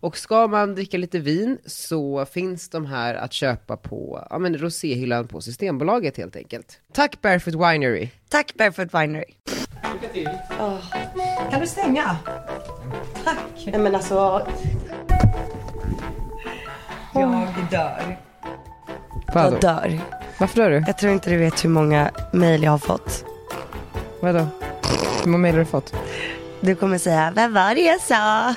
Och ska man dricka lite vin så finns de här att köpa på ja, men roséhyllan på Systembolaget helt enkelt. Tack Barefoot Winery! Tack Barefoot Winery. Kan du stänga? Tack. Nej men alltså... Jag dör. Jag dör. Varför dör du? Jag tror inte du vet hur många mail jag har fått. Vadå? Hur många mejl har du fått? Du kommer säga, vad var det jag sa?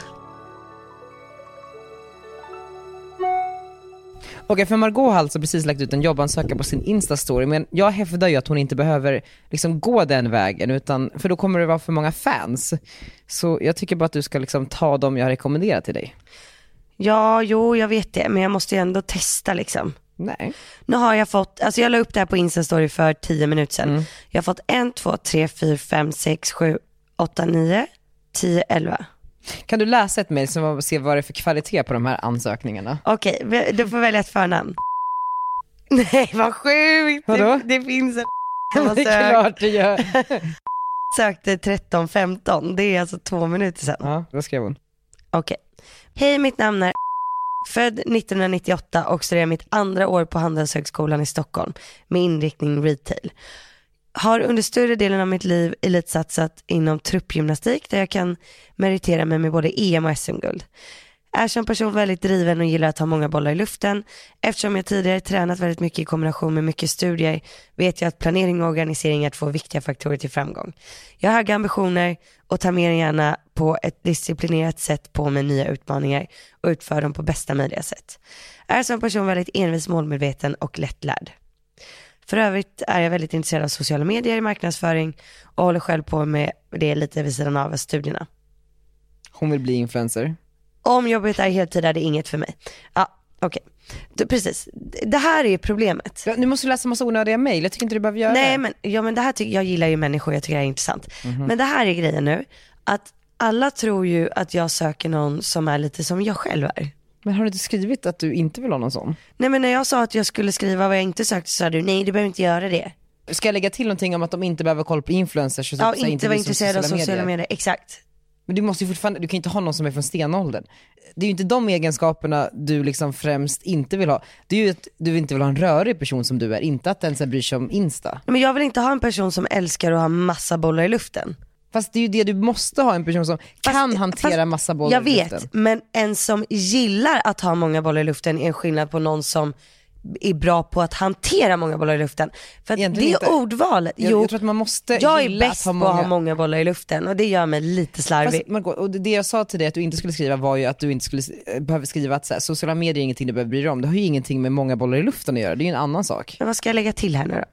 Okej, för Margot har alltså precis lagt ut en jobbansökan på sin Insta-story, men jag hävdar ju att hon inte behöver liksom gå den vägen, utan, för då kommer det vara för många fans. Så jag tycker bara att du ska liksom ta dem jag rekommenderar till dig. Ja, jo, jag vet det, men jag måste ju ändå testa liksom. Nej. Nu har jag fått, alltså jag la upp det här på Insta-story för 10 minuter sedan. Mm. Jag har fått 1, 2, 3, 4, 5, 6, 7, 8, 9, 10, 11. Kan du läsa ett mejl så vi ser vad det är för kvalitet på de här ansökningarna? Okej, vi- du får välja ett förnamn. Nej, vad sjukt! Vadå? Det, det finns en som har Det är sökt, klart det gör. sökte 13-15. Det är alltså två minuter sedan. Ja, då skrev hon. Okej. Hej, mitt namn är född 1998 och studerar mitt andra år på Handelshögskolan i Stockholm med inriktning retail. Har under större delen av mitt liv elitsatsat inom truppgymnastik där jag kan meritera mig med både EM och SM-guld. Är som person väldigt driven och gillar att ha många bollar i luften. Eftersom jag tidigare tränat väldigt mycket i kombination med mycket studier vet jag att planering och organisering är två viktiga faktorer till framgång. Jag har höga ambitioner och tar mer än gärna på ett disciplinerat sätt på mig nya utmaningar och utför dem på bästa möjliga sätt. Är som person väldigt envis, målmedveten och lättlärd. För övrigt är jag väldigt intresserad av sociala medier, marknadsföring och håller själv på med det lite vid sidan av studierna. Hon vill bli influencer. Om jobbet är heltid är det inget för mig. Ja, okej. Du, Precis. Det här är problemet. Ja, nu måste du läsa massa onödiga mejl, jag tycker inte du behöver göra Nej det. Mhm. men, ja, men det här tycker jag gillar ju människor, jag tycker det här är intressant. Men det här är grejen nu, att alla tror ju att jag söker någon som är lite som jag själv är. Men har du inte skrivit att du inte vill ha någon sån? Nej men när jag sa att jag skulle skriva vad jag inte sökte så sa du nej du behöver inte göra det. Ska jag lägga till någonting om att de inte behöver ha koll på influencers? Och Ja, så här, inte vara vi som intresserad av sociala medier, exakt. Men du måste ju fortfarande, du kan ju inte ha någon som är från stenåldern. Det är ju inte de egenskaperna du liksom främst inte vill ha. Det är ju att du inte vill ha en rörig person som du är, inte att den så här bryr sig om Insta. Men jag vill inte ha en person som älskar att ha massa bollar i luften. Fast det är ju det du måste ha, en person som kan hantera fast massa bollar Jag i vet, luften. men en som gillar att ha många bollar i luften är en skillnad på någon som är bra på att hantera många bollar i luften. För att det Egentligen inte. ordvalet, Jag, jo, jag tror att man måste jag är gilla bäst att ha på att många... ha många bollar i luften och det gör mig lite slarvig. Fast Margot, och det- det jag sa till dig att du inte skulle skriva var ju att du inte skulle eh, behöva skriva att så här, sociala medier är ingenting du behöver bry dig om. Det har ju ingenting med många bollar i luften att göra, det är ju en annan sak. Men vad ska jag lägga till här nu då?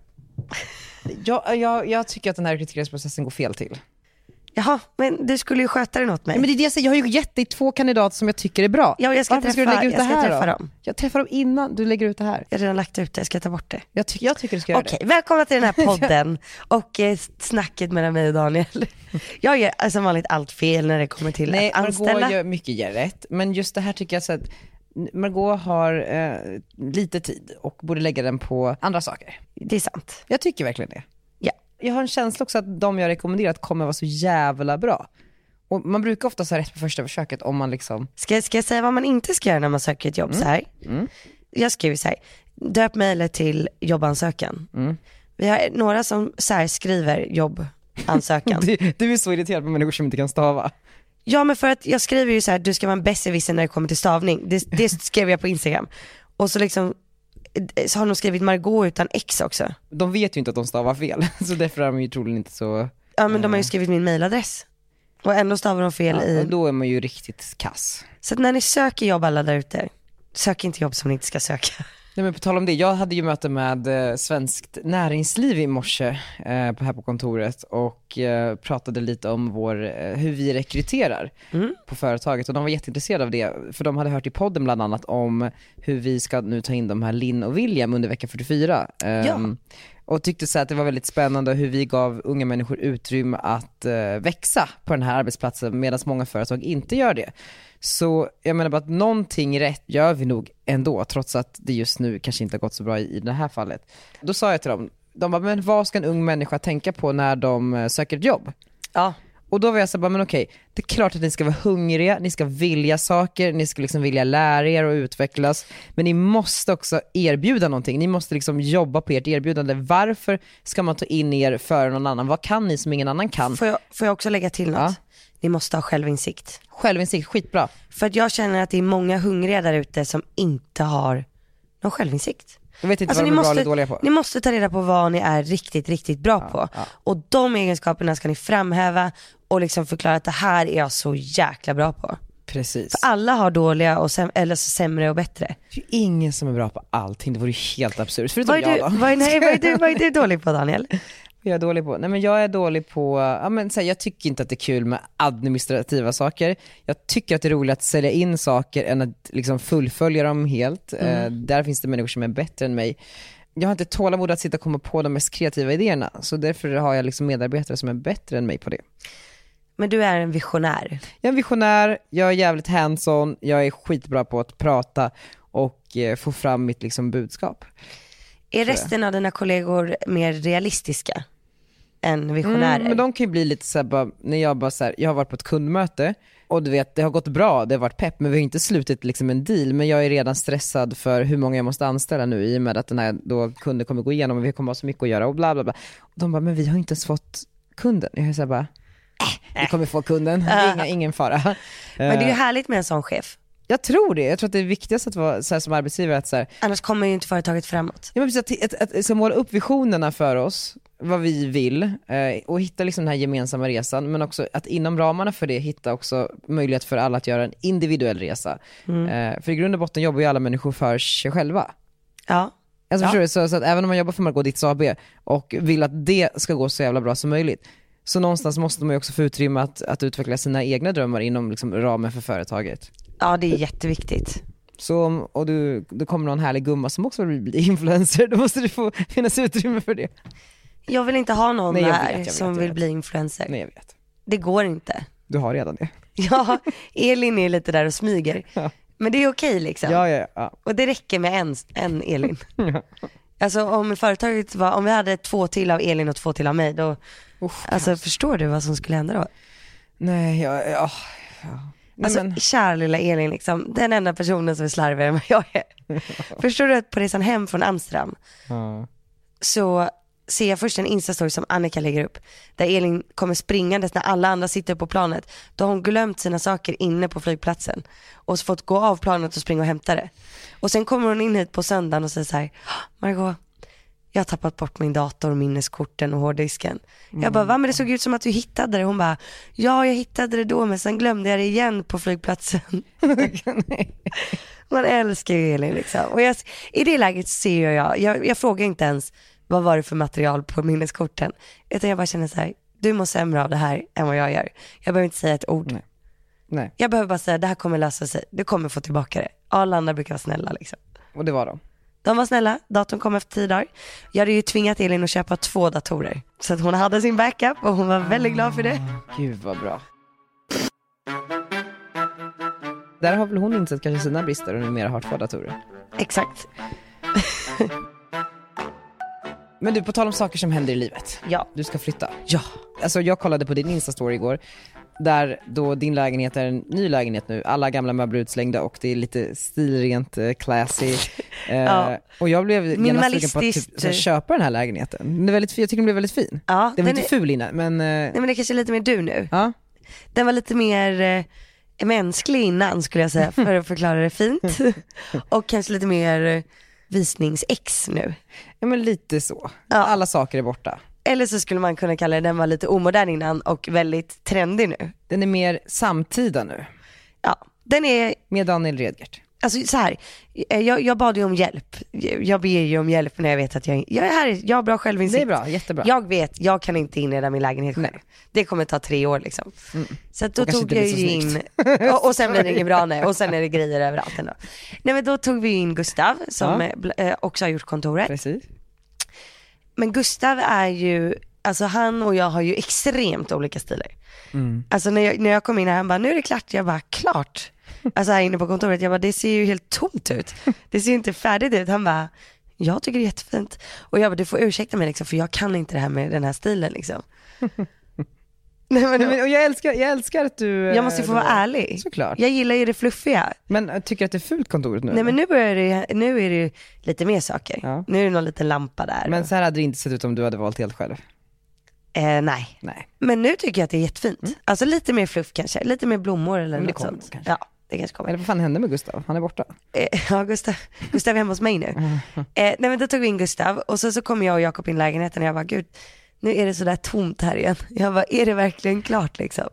Jag, jag, jag tycker att den här rekryteringsprocessen går fel till. Jaha, men du skulle ju sköta dig åt mig. Men det är det jag säger, jag har ju gett dig två kandidater som jag tycker är bra. Ja, och jag ska Varför ska du träffa- lägga ut jag det ska här träffa då? dem. Jag träffar dem innan du lägger ut det här. Jag har redan lagt ut det, jag ska ta bort det. Jag, ty- jag tycker du ska göra Okej, välkomna till den här podden och eh, snacket mellan mig och Daniel. Jag gör eh, som vanligt allt fel när det kommer till det. Nej, att anställa. Margot gör mycket gör rätt, men just det här tycker jag så att Margot har eh, lite tid och borde lägga den på andra saker. Det är sant. Jag tycker verkligen det. Ja. Jag har en känsla också att de jag rekommenderat kommer vara så jävla bra. Och man brukar ofta ha rätt på första försöket om man liksom, Ska, ska jag säga vad man inte ska göra när man söker ett jobb så här? Jag skriver så här, döp mejlet till jobbansökan. Vi har några som särskriver jobbansökan. du, du är så irriterad på människor som inte kan stava. ja men för att jag skriver ju så här, du ska vara en besserwisser när det kommer till stavning. Det, det skrev jag på Instagram. Och så liksom, eh, så har de skrivit Margot utan X också. De vet ju inte att de stavar fel, så därför är de ju troligen inte så ja men de har ju skrivit min mailadress. Och ändå stavar de fel Ja, i. och då är man ju riktigt kass. Så att när ni söker jobb alla där ute, sök inte jobb som ni inte ska söka. Nej men på tal om det, jag hade ju möte med eh, Svenskt Näringsliv i morse eh, på- här på kontoret och eh, pratade lite om vår, eh, hur vi rekryterar på företaget och de var jätteintresserade av det för de hade hört i podden bland annat om hur vi ska nu ta in de här Linn och William under vecka 44. eh, Och tyckte så här att det var väldigt spännande hur vi gav unga människor utrymme att eh, växa på den här arbetsplatsen medan många företag inte gör det. Så jag menar bara att någonting rätt gör vi nog ändå, trots att det just nu kanske inte har gått så bra i, i det här fallet. Då sa jag till dem, de bara, men vad ska en ung människa tänka på när de eh, söker ett jobb? Ja. Och då var jag så här, bara, men okej, det är klart att ni ska vara hungriga, ni ska vilja saker, ni ska liksom vilja lära er och utvecklas. Men ni måste också erbjuda någonting, ni måste liksom jobba på ert erbjudande. Varför ska man ta in er före någon annan? Vad kan ni som ingen annan kan? Får jag, får jag också lägga till något? Ja. Ni måste ha självinsikt. Självinsikt, skitbra. För att jag känner att det är många hungriga där ute som inte har någon självinsikt. Alltså, Jag vet inte vad de är bra eller dåliga på. ni måste ta reda på vad ni är riktigt, riktigt bra på. Och de egenskaperna ska ni framhäva och liksom förklara att det här är jag så jäkla bra på. Precis. Alla har dåliga och säm- eller så sämre och bättre. Det är ju ingen som är bra på allting, det vore ju helt absurt. Förutom Vad är, jag du, då. vad, är, nej, vad, är du, vad är du dålig på Daniel? jag är dålig på? Nej men jag är dålig på, ja, men, så här, jag tycker inte att det är kul med administrativa saker. Jag tycker att det är roligare att sälja in saker än att liksom, fullfölja dem helt. Eh, där finns det människor som är bättre än mig. Jag har inte tålamod att sitta och komma på de mest kreativa idéerna, så därför har jag liksom medarbetare som är bättre än mig på det. Men du är en visionär. Jag är en visionär, jag är jävligt hands-on, jag är skitbra på att prata och eh, få fram mitt liksom, budskap. Är resten av dina kollegor mer realistiska än visionärer? Mm, men de kan ju bli lite såhär, bara, när jag bara såhär, jag har varit på ett kundmöte och du vet det har gått bra, det har varit pepp men vi har inte slutit liksom en deal men jag är redan stressad för hur många jag måste anställa nu i och med att den här då kunden kommer gå igenom och vi kommer ha så mycket att göra och bla bla bla. Och de bara, men vi har inte ens fått kunden. Jag är såhär bara, äh, vi kommer få kunden, det är inga, ingen fara. Men det är ju Eh, härligt med en sån chef. jag tror det, jag tror att det är viktigast att vara såhär som arbetsgivare att såhär, Annars kommer ju inte företaget framåt. Ja, men precis, att, att, att, så måla upp visionerna för oss, vad vi vill eh, och hitta liksom den här gemensamma resan men också att inom ramarna för det hitta också möjlighet för alla att göra en individuell resa. Eh, för i grund och botten jobbar ju alla människor för sig själva. Ja. Alltså, Ja. förstår du? Så, så att även om man jobbar för Margot Dietz AB och vill att det ska gå så jävla bra som möjligt så någonstans måste man ju också få utrymme att, att utveckla sina egna drömmar inom liksom, ramen för företaget. ja, det är jätteviktigt. Så om och du, det kommer någon härlig gumma som också vill bli influencer, då måste det få finnas utrymme för det. Jag vill inte ha någon Nej, jag vet, här jag vet, som jag vill vet. bli influencer. Nej jag vet. Det går inte. Du har redan det. Ja, Elin är lite där och smyger. Ja. Men det är okej liksom. Ja, ja, ja. Och det räcker med en, en Elin. Alltså om företaget var, om vi hade två till av Elin och två till av mig då, alltså förstår du vad som skulle hända då? Nej, ja, ja. ja. Nej, Alltså men, kära lilla Elin liksom, den enda personen som är slarvigare än vad jag är. Förstår du att på resan hem från Amsterdam så ser jag först en instastory som Annika lägger upp där Elin kommer springandes när alla andra sitter på planet. Då har hon glömt sina saker inne på flygplatsen och så fått gå av planet och springa och hämta det. Och sen kommer hon in hit på söndagen och säger så här, "Åh, Margot, jag har tappat bort min dator, minneskorten och hårddisken. Jag Mm. bara, va men det såg ut som att du hittade det. Hon bara, ja jag hittade det då men sen glömde jag det igen på flygplatsen. Man älskar ju Elin liksom. Och jag, i det läget ser jag, jag, jag, jag frågar inte ens vad var det för material på minneskorten. Utan jag bara känner så här, du mår sämre av det här än vad jag gör. Jag behöver inte säga ett ord. Nej. nej, Jag behöver bara säga, det här kommer lösa sig. Du kommer få tillbaka det. Alla andra brukar vara snälla liksom. och det var de. De var snälla, datorn kom efter tio dagar. Jag hade ju tvingat Elin att köpa två datorer. Så att hon hade sin backup och hon var väldigt glad för det. Gud vad bra. Där har väl hon insett kanske sina brister och numera har två datorer. Exakt. Men du, på tal om saker som händer i livet. Ja. Du ska flytta. Ja. Alltså jag kollade på din Insta-story igår, där då din lägenhet är en ny lägenhet nu. Alla gamla möbler är utslängda och det är lite stilrent, eh, classy. Eh, Ja. Och jag blev genast sugen på att Minimalistiskt. typ, så här, köpa den här lägenheten. Den är väldigt, fin- jag tycker den blev väldigt fin. Ja, den var den inte ful innan, men eh, Nej men det kanske är lite mer du nu. ja. Den var lite mer eh, mänsklig innan skulle jag säga för att förklara det fint. och kanske lite mer eh, visningsex nu. ja, men lite så. Ja. Alla saker är borta. Eller så skulle man kunna kalla den, den var lite omodern innan och väldigt trendig nu. Den är mer samtida nu, Ja, den är med Daniel Redgert. Alltså så här, eh, jag, jag bad ju om hjälp. Jag jag ber ju om hjälp när jag vet att jag, jag är här, jag har bra självinsikt. Det är bra, jättebra. Jag vet, jag kan inte inreda min lägenhet själv. Nej. Mm. Det kommer ta tre år liksom. Så att då Och kanske tog inte jag blir så ju in, och, och sen blir det inget bra nej, och sen är det grejer överallt ändå. Nej men då tog vi in Gustav som Ja. eh, bl- eh, också har gjort kontoret. Precis. Men Gustav är ju, alltså han och jag har ju extremt olika stilar. Mm. Alltså när jag, när jag kom in här, han bara, nu är det klart. Jag bara, klart. Alltså här inne på kontoret, jag bara, det ser ju helt tomt ut. Det ser ju inte färdigt ut. Han bara, jag tycker det är jättefint. Och jag bara, du får ursäkta mig liksom, för jag kan inte det här med den här stilen liksom. Nej, men, Nej, men, och jag, älskar, jag älskar att du... eh, jag måste ju få vara ärlig. Såklart. Jag gillar ju det fluffiga. Men eh, tycker du att det är fult kontoret nu? Nej men eller? nu börjar det, nu är det ju lite mer saker. Ja. Nu är det någon liten lampa där. men så här hade det inte sett ut om du hade valt helt själv. eh, nej. Nej. Men nu tycker jag att det är jättefint. Alltså lite mer fluff kanske, lite mer blommor eller Mm. Men det något kommer sånt. kanske. Ja, det kanske kommer. Eller vad fan hände med Gustav? Han är borta. Eh, Ja, Gustav, Gustav är hemma hos mig nu. Eh, nej men då tog vi in Gustav och så, så kom jag och Jakob in i lägenheten och jag bara, gud, nu är det sådär tomt här igen. Jag bara, är det verkligen klart liksom?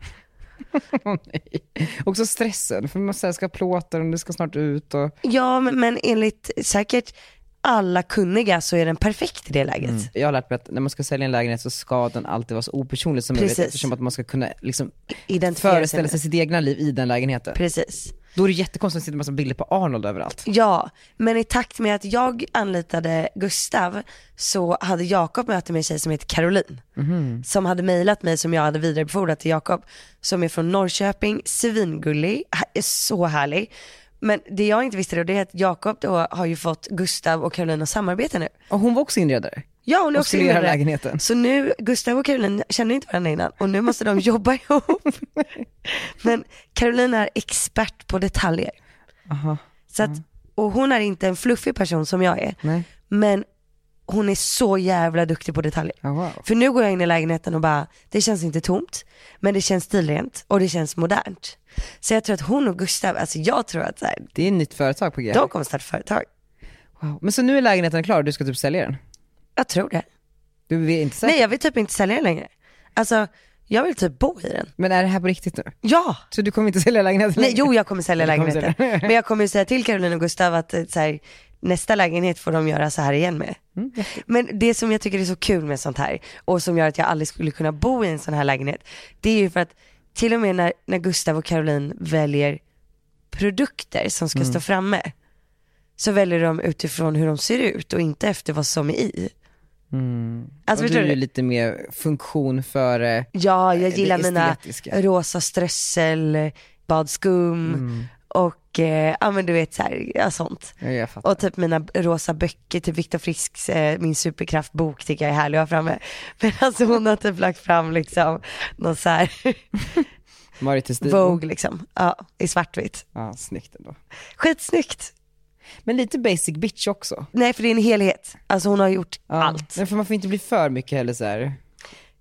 Också stressen, för man så här ska ha plåtar och det ska snart ut och... Ja, men, men enligt säkert alla kunniga så är den perfekt i det läget. Jag har lärt mig att när man ska sälja en lägenhet så ska den alltid vara så opersonlig som Precis. möjligt eftersom att man ska kunna liksom Identifiera sig föreställa med. sig sitt egna liv i den lägenheten. Precis. Då är det jättekonstigt att det sitter en massa bilder på Arnold överallt. Ja, men i takt med att jag anlitade Gustav så hade Jakob möte med en tjej som heter Caroline. Som hade mejlat mig som jag hade vidarebefordrat till Jakob. Som är från Norrköping, svingullig, ha- är så härlig. Men det jag inte visste då det är att Jakob då har ju fått Gustav och Caroline att samarbeta nu. Och hon var också inredare. Ja hon är Och också skulle göra inbjuden. lägenheten. Så nu, Gustav och Caroline känner ju inte varandra innan och nu måste de jobba ihop. Men Caroline är expert på detaljer. Så att, och hon är inte en fluffig person som jag är. Nej. Men hon är så jävla duktig på detaljer. Ja, wow. För nu går jag in i lägenheten och bara, det känns inte tomt, men det känns stilrent och det känns modernt. Så jag tror att hon och Gustav, alltså jag tror att så här, Det är ett nytt företag på G. de kommer starta företag. Wow. Men så nu är lägenheten klar och du ska typ sälja den? Jag tror det. Du är inte säker? Nej jag vill typ inte sälja den längre. Alltså, jag vill typ bo i den. Men är det här på riktigt nu? Ja! Så du kommer inte sälja lägenheten? Nej, längre? jo jag kommer sälja Du kommer lägenheten. sälja. Men jag kommer ju säga till Caroline och Gustav att eh, så här, nästa lägenhet får de göra så här igen med. Mm, Men det som jag tycker är så kul med sånt här och som gör att jag aldrig skulle kunna bo i en sån här lägenhet. Det är ju för att till och med när, när Gustav och Caroline väljer produkter som Mm. ska stå framme. Så väljer de utifrån hur de ser ut och inte efter vad som är i. Alltså Mm. och förstår du är du? ju lite mer funktion före... Ja, jag Eh, det gillar mina estetiska. rosa strössel, badskum Mm. och eh, ja men du vet så här, ja, sånt. Ja, jag fattar. Och typ mina rosa böcker, typ Viktor Frisks eh, Min superkraftbok tycker jag är härlig att ha framme. Men alltså hon har typ lagt fram liksom någon så här Marit Westin. Vogue liksom, ja, i svartvitt. Ja, snyggt ändå. Skitsnyggt. Men lite basic bitch också. Nej för det är en helhet, alltså hon har gjort Ja. allt. Men för man får inte bli för mycket heller så här.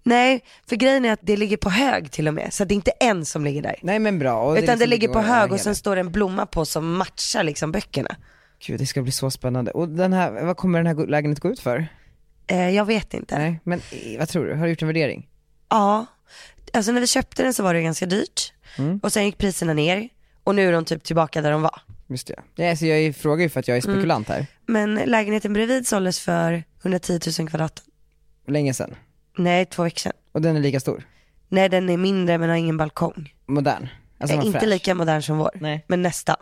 Nej, för grejen är att det ligger på hög till och med, så det är inte en som ligger där. Nej men bra. Och Utan det liksom ligger på över hög och hela. sen står det en blomma på som matchar liksom böckerna. Gud det ska bli så spännande. Och den här, vad kommer den här lägenheten gå ut för? Eh, jag vet inte. Nej men eh, vad tror du? Har du gjort en värdering? Ja, alltså när vi köpte den så var det ganska dyrt. Mm. Och sen gick priserna ner och nu är de typ tillbaka där de var. Just det. Nej så jag är- frågar ju för att jag är Mm. spekulant här. Men lägenheten bredvid såldes för 110 000 kvadrat. Länge sedan. Nej, två veckor sedan. Och den är lika stor. Nej, den är mindre men har ingen balkong. Modern. Alltså Eh, den var inte fräsch. lika modern som vår, Nej. men nästan.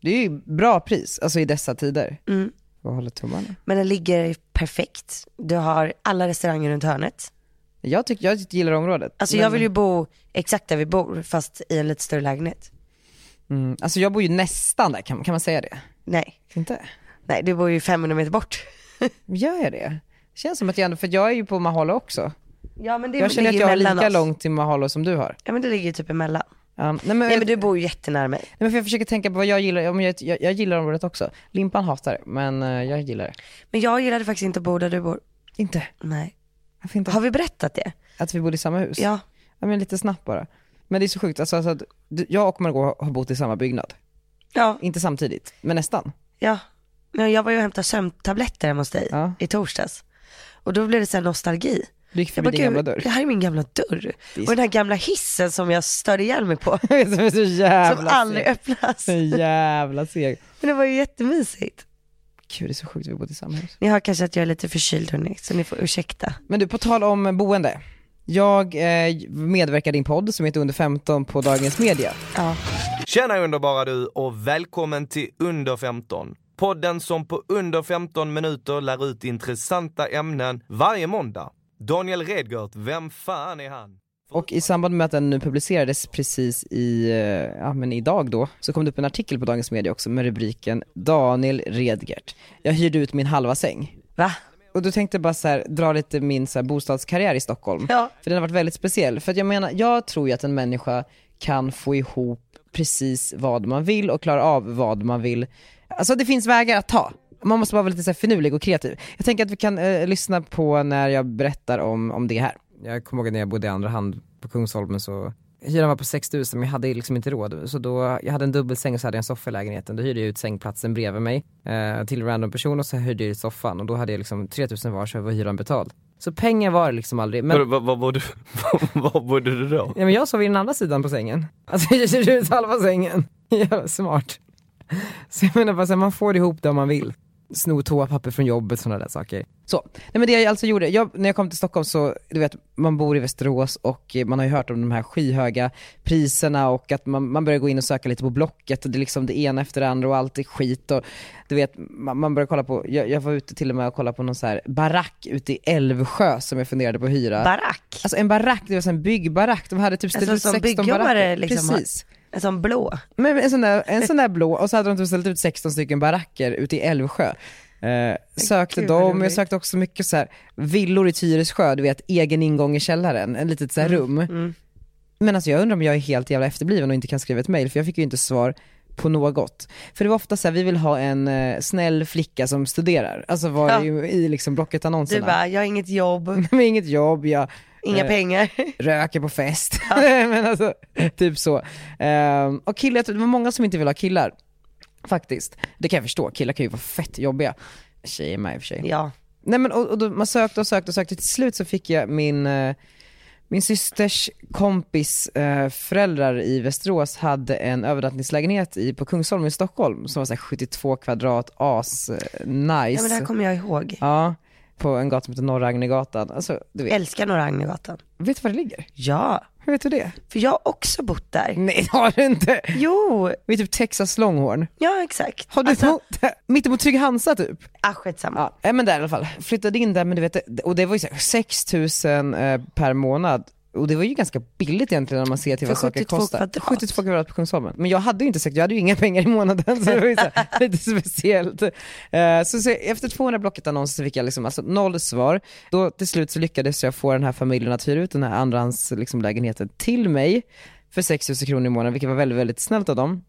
Det är ju bra pris, alltså i dessa tider. Mm. Jag håller tummarna. Men den ligger perfekt. Du har alla restauranger runt hörnet. Jag, tycker, jag gillar området. Alltså Men- jag vill ju bo exakt där vi bor fast i en lite större lägenhet. Mm, alltså jag bor ju nästan där, kan, kan man säga det? Nej, Inte? nej du bor ju 500 meter bort. Gör jag det? Det känns som att jag ändå, för jag är ju på Mahalo också. Ja men det Jag känner att ligger jag har mellan lika oss. långt till Mahalo som du har. Ja men det ligger ju typ emellan. Ja, nej, men, Nej men du... du bor ju jättenära mig. nej, men för jag försöker tänka på vad jag gillar, ja, men jag, jag, jag gillar området också. Limpan hatar det, men eh, jag gillar det. Men jag gillade faktiskt inte att bo där du bor. Inte? Nej. Varför inte? Har vi berättat det? Att vi bodde i samma hus? Ja. ja men lite snabbt bara. Men det är så sjukt, alltså, alltså, att du- jag och Margot har bott i samma byggnad. Ja. Inte samtidigt, men nästan. ja. Men jag var ju och hämtade sömntabletter hemma hos dig Ja. i torsdags. Och då blev det så här nostalgi. Du gick Jag förbi bara, din gamla gud, dörr. det här är min gamla dörr. Det är Och den här gamla hissen som jag störde ihjäl mig på. Som är så som jävla aldrig seg. öppnas. Så jävla seg. Men det var ju jättemysigt. Gud det är så sjukt att vi bodde i samma hus. Ni hör kanske att jag är lite förkyld hörni, så ni får ursäkta. Men du, på tal om boende. Jag eh, medverkar i din podd som heter Under 15 på Dagens Media. Ja. Tjena underbara du och välkommen till Under 15. Podden som på under 15 minuter lär ut intressanta ämnen varje måndag. Daniel Redgert, vem fan är han? Och i samband med att den nu publicerades precis i, eh, ja men idag då, så kom det upp en artikel på Dagens Media också med rubriken Daniel Redgert. Jag hyrde ut min halva säng. Va? Och då tänkte jag bara så här, dra lite min så här, bostadskarriär i Stockholm. Ja. För den har varit väldigt speciell. För att jag menar, jag tror ju att en människa kan få ihop precis vad man vill och klara av vad man vill. Alltså det finns vägar att ta. Man måste bara vara lite så här finurlig och kreativ. Jag tänker att vi kan eh, lyssna på när jag berättar om, om det här. Jag kommer ihåg när jag bodde i andra hand på Kungsholmen så Hyran var på 6 000 men jag hade liksom inte råd. Så då, jag hade en dubbelsäng och så hade jag en soffa i lägenheten. Då hyrde jag ut sängplatsen bredvid mig eh, till en random person och så hyrde jag ut soffan. Och då hade jag liksom 3 000 var så var hyran betald. Så pengar var det liksom aldrig. Men, Vad var, var, bodde du då? ja, men jag sov i den andra sidan på sängen. Alltså jag hyrde ut halva sängen. Jävla smart. Så jag menar bara så här, man får ihop det om man vill. Sno toapapper från jobbet, sådana där saker. Så, nej men det jag alltså gjorde, jag, när jag kom till Stockholm så, du vet, man bor i Västerås och eh, man har ju hört om de här skyhöga priserna och att man, man börjar gå in och söka lite på Blocket och det är liksom det ena efter det andra och allt är skit och du vet, man, man börjar kolla på, jag, jag var ute till och med och kollade på någon så här barack ute i Älvsjö som jag funderade på att hyra. Barack? Alltså en barack, det var så en byggbarack, de hade typ ställt Alltså som ut 16 byggjobbare baracker. liksom. Precis. En sån blå. Men en sån, där, en sån där blå, och så hade de typ ställt ut 16 stycken baracker ute i Älvsjö. Eh, sökte Gud, vad dem, jag roligt. sökte också mycket så här villor i Tyresjö, du vet egen ingång i källaren, en litet så här Mm, rum. Men alltså jag undrar om jag är helt jävla efterbliven och inte kan skriva ett mail för jag fick ju inte svar på något. För det var ofta så här, vi vill ha en eh, snäll flicka som studerar. Alltså var Ja. det ju i liksom Du Blocket-annonserna. bara, jag har inget jobb, Men inget jobb, jag inga Eh. pengar. röker på fest. men alltså, typ så. Ehm, och killar, jag tror det var många som inte vill ha killar. Faktiskt. Det kan jag förstå, killar kan ju vara fett jobbiga. Tjejer med i och för sig. Ja. Nej men och, och då, man sökte och sökte och sökte, till slut så fick jag min, eh, min systers kompis eh, föräldrar i Västerås hade en övernattningslägenhet i, på Kungsholmen i Stockholm som var så här 72 kvadrat, as, eh, nice. ja, men det här kommer jag ihåg. Ja, på en gata som heter Norra Agnegatan. Alltså, du Jag vet, älskar Norra Agnegatan. vet du var det ligger? Ja, Hur vet du det? för jag har också bott där. Nej det har du inte. Jo, Vid typ Texas Longhorn. ja exakt. Har du alltså, bott där? Mittemot Trygg Hansa typ? ah, skitsamma. Ja, äh, men där i alla fall. Flyttade in där men du vet, det- och det var ju så här 6 000 eh, per månad. Och det var ju ganska billigt egentligen när man ser till För vad saker 72 kostar. kvadrat. 72 kvadrat på Kungsholmen. Men jag hade ju inte sagt, jag hade ju inga pengar i månaden så det var ju så här, lite speciellt. Eh, så, så efter 200 Blocket-annonser så fick jag liksom, alltså, noll svar. Då till slut så lyckades jag få den här familjen att hyra ut den här andrahands liksom, lägenheten till mig för 6 000 kronor i månaden vilket var väldigt, väldigt snällt av dem.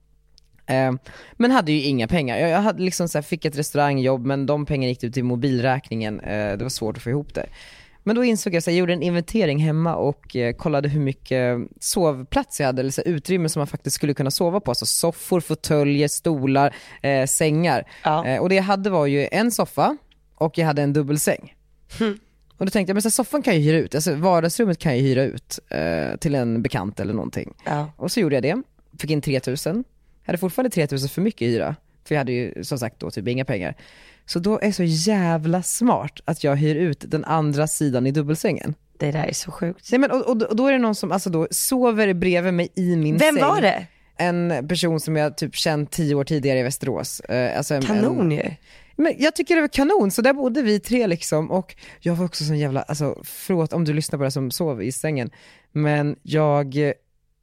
Eh, Men hade ju inga pengar. Jag jag hade liksom så här, fick ett restaurangjobb men de pengarna gick ut till mobilräkningen. Eh, Det var svårt att få ihop det. Men då insåg jag, så här, jag gjorde en inventering hemma och eh, kollade hur mycket sovplats jag hade, eller så här, utrymme som man faktiskt skulle kunna sova på. Alltså soffor, fåtöljer, stolar, eh, sängar. Ja. Eh, och det jag hade var ju en soffa och jag hade en dubbelsäng. Och då tänkte jag, men så här, soffan kan jag hyra ut, alltså vardagsrummet kan jag hyra ut eh, till en bekant eller någonting. Ja. Och så gjorde jag det, fick in 3000. Jag hade fortfarande 3000 för mycket i hyra. För jag hade ju som sagt då typ inga pengar. Så då är det så jävla smart att jag hyr ut den andra sidan i dubbelsängen. Det där är så sjukt. Nej, men, och, och, och då är det någon som alltså då sover bredvid mig i min Vem säng. var det? En person som jag typ känt tio år tidigare i Västerås. Eh, Alltså en, en, Kanon ju. men jag tycker det var kanon, så där bodde vi tre liksom och jag var också sån jävla, alltså förlåt om du lyssnar på det här som sov i sängen, men jag,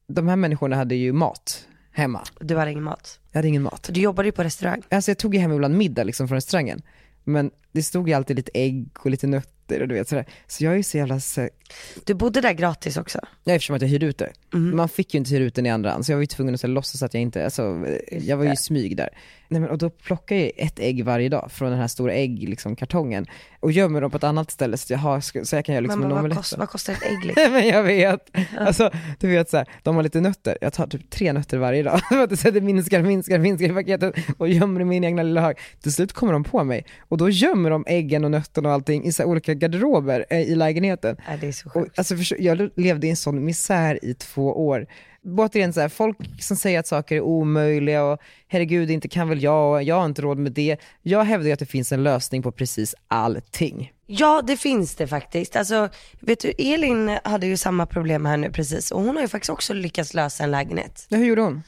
de här människorna hade ju mat hemma. Du hade ingen mat. Jag hade ingen mat. För du jobbade ju på restaurang. Alltså jag tog ju hem ibland middag liksom från restaurangen, men det stod ju alltid lite ägg och lite nötter och du vet sådär. Så jag är ju så jävla, så... Du bodde där gratis också. ja, eftersom att jag hyrde ut det. Mm. Man fick ju inte hyra ut den i andra hand, så jag var ju tvungen att så här, låtsas att jag inte, alltså jag var ju i smyg där. Nej, men, och då plockar jag ett ägg varje dag från den här stora ägg, liksom, kartongen och gömmer dem på ett annat ställe så, jag har, så jag kan göra liksom, Men en vad, omelett. kost, vad kostar ett ägg Nej, liksom? men jag vet. Alltså, du vet så här, de har lite nötter. Jag tar typ tre nötter varje dag. För att det minskar, minskar, minskar i paketet och gömmer i min egna lilla hög. Till slut kommer de på mig och då gömmer med de äggen och nötterna och allting i så här olika garderober eh, i lägenheten. Nej, det är så Och, sjukt. alltså, försö- jag levde i en sån misär i två år. Återigen, så här, folk som säger att saker är omöjliga och herregud, inte kan väl jag och jag har inte råd med det. Jag hävdar ju att det finns en lösning på precis allting. Ja det finns det faktiskt. Alltså, vet du Elin hade ju samma problem här nu precis och hon har ju faktiskt också lyckats lösa en lägenhet. Ja, Hur gjorde hon?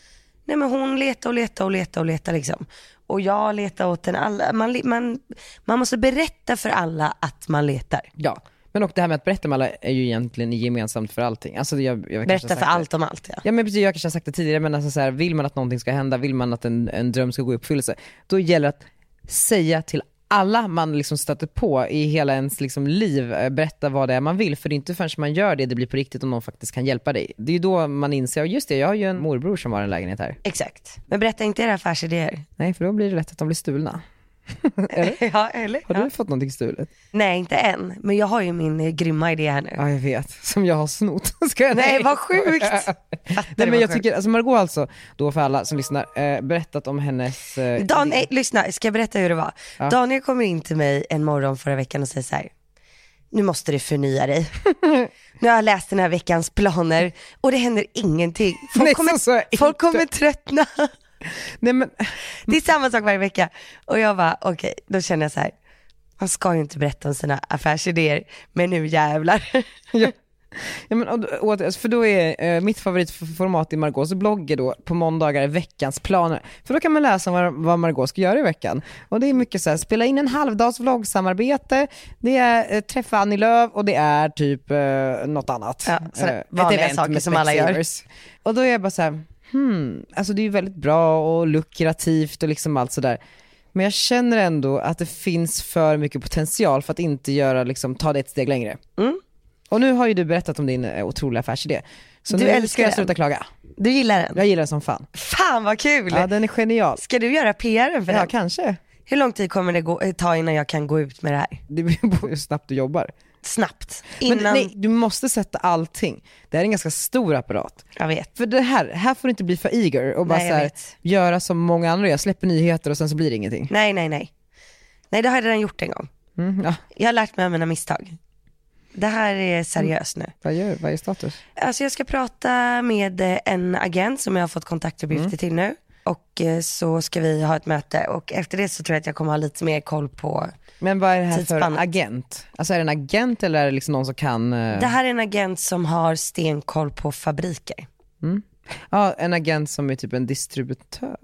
Nej men hon letar och letar och letar och letar liksom. Och jag letar åt den alla. Man, le- man, man måste berätta för alla att man letar. Ja. Men och det här med att berätta om alla är ju egentligen gemensamt för allting. Alltså, jag, jag kanske har Berätta sagt för det. allt om allt ja. Ja men precis, jag kanske har sagt det tidigare men alltså så här, vill man att någonting ska hända, vill man att en, en dröm ska gå i uppfyllelse, då gäller det att säga till alla man liksom stöter på i hela ens liksom liv, eh, berätta vad det är man vill. För det är inte förrän man gör det det blir på riktigt om någon faktiskt kan hjälpa dig. Det är ju då man inser, "Ja, just det, jag har ju en morbror som har en lägenhet här. Exakt. Men berätta inte era affärsidéer. Nej, för då blir det lätt att de blir stulna. ja eller? Har Ja. du fått någonting stulet? Nej inte än. Men jag har ju min eh, grymma idé här nu. Ja, jag vet. Som jag har snott. Ska jag Nej, vad sjukt. Fattar det, Nej, men vad jag sjukt. tycker, alltså Margot har alltså, då för alla som lyssnar, eh, berättat om hennes... Eh, Dan, nej, lyssna, ska jag berätta hur det var? Daniel kommer in till mig en morgon förra veckan och säger så här, nu måste du förnya dig. nu har jag läst den här veckans planer och det händer ingenting. Folk, Nej, så kommer, sa jag inte. folk kommer tröttna. Nej men, det är samma sak varje vecka. Och jag bara, okej, då känner jag så här, man ska ju inte berätta om sina affärsidéer, men nu jävlar. ja. Ja, men, och, och, att- alltså, för då är eh, mitt favoritformat i Margaux blogg är då på måndagar är veckans planer. För då kan man läsa om vad, vad Margaux ska göra i veckan. Och det är mycket så här, spela in en halvdags vloggsamarbete, det är eh, träffa Annie Lööf och det är typ eh, något annat. Ja, sådana ett vanliga event saker med som alla gör. Specsavers. Och då är jag bara så här, hmm, alltså det är ju väldigt bra och lukrativt och liksom allt sådär. Men jag känner ändå att det finns för mycket potential för att inte göra, liksom, ta det ett steg längre. Och nu har ju du berättat om din eh, otroliga affärsidé. Så Du nu älskar ska jag den. sluta klaga. Du gillar den? Jag gillar den som fan. Fan vad kul! Ja, den är genial. Ska du göra PR för Ja, den? kanske. Hur lång tid kommer det gå, eh, ta innan jag kan gå ut med det här? Det beror på hur snabbt du jobbar. Snabbt, Men innan nej, du måste sätta allting. Det här är en ganska stor apparat. jag vet. För det här, här får du inte bli för eager och bara Nej, jag så här, vet. göra som många andra gör, släpper nyheter och sen så blir det ingenting. Nej, nej, nej. Nej, det har jag redan gjort en gång. Mm, ja. Jag har lärt mig av mina misstag. Det här är seriöst nu. Vad gör Vad är status? Alltså jag ska prata med eh, en agent som jag har fått kontaktuppgifter till nu. Och eh, så ska vi ha ett möte och efter det så tror jag att jag kommer ha lite mer koll på. Men vad är det här Tidsspannet. för agent? Alltså är det en agent eller är det liksom någon som kan... eh, Det här är en agent som har stenkoll på fabriker. Ja, en agent som är typ en distributör.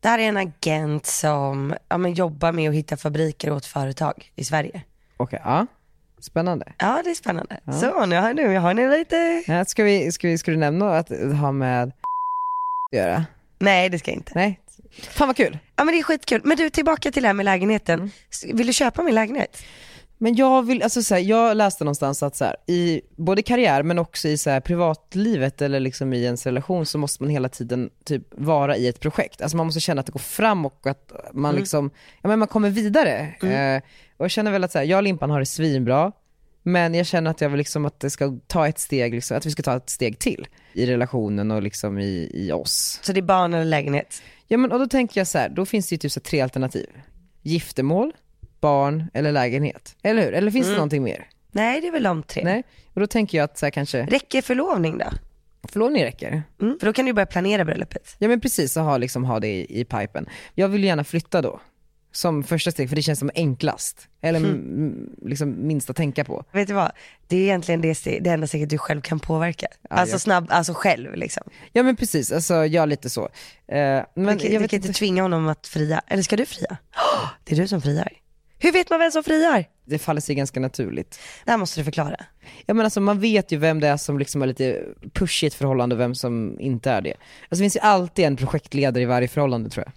Det här är en agent som ja, men jobbar med att hitta fabriker åt företag i Sverige. Okej, ja. Spännande. Ja, det är spännande. Så nu har, nu har ni lite... Ja, ska, vi, ska, vi, ska du nämna att det har med att göra? Nej, det ska jag inte. Nej? Fan vad kul. Ja men det är skitkul. Men du tillbaka till det här med lägenheten. S- Vill du köpa min lägenhet? Men jag vill, alltså så här, jag läste någonstans att så här, i både karriär men också i så här, privatlivet eller liksom i ens relation så måste man hela tiden typ vara i ett projekt. Alltså man måste känna att det går fram och att man liksom, ja men man kommer vidare. Eh, och jag känner väl att så här, jag och Limpan har det svinbra, men jag känner att jag vill liksom att det ska ta ett steg, liksom, att vi ska ta ett steg till i relationen och liksom i, i oss. Så det är barn eller lägenhet? Ja men och då tänker jag så här, då finns det ju typ så här tre alternativ. Giftermål, barn eller lägenhet. Eller hur? Eller finns det någonting mer? Nej det är väl de tre. Nej? Och då tänker jag att så här, kanske Räcker förlovning då? förlovning räcker. Mm. För då kan du börja planera bröllopet. Ja men precis, och ha, liksom, ha det i, i pipen. Jag vill ju gärna flytta då. Som första steg, för det känns som enklast. Eller m- liksom minst att tänka på. Vet du vad? Det är egentligen det, ste- det enda säkert du själv kan påverka. alltså jag- snabb, alltså själv liksom. Ja men precis, alltså jag lite så. Eh, men Du kan, jag du vet kan inte inte, tvinga honom att fria. Eller ska du fria? Åh, det är du som friar. Hur vet man vem som friar? det faller sig ganska naturligt. Det här måste du förklara. Ja men alltså man vet ju vem det är som liksom har lite pushigt förhållande och vem som inte är det. Alltså det finns ju alltid en projektledare i varje förhållande tror jag.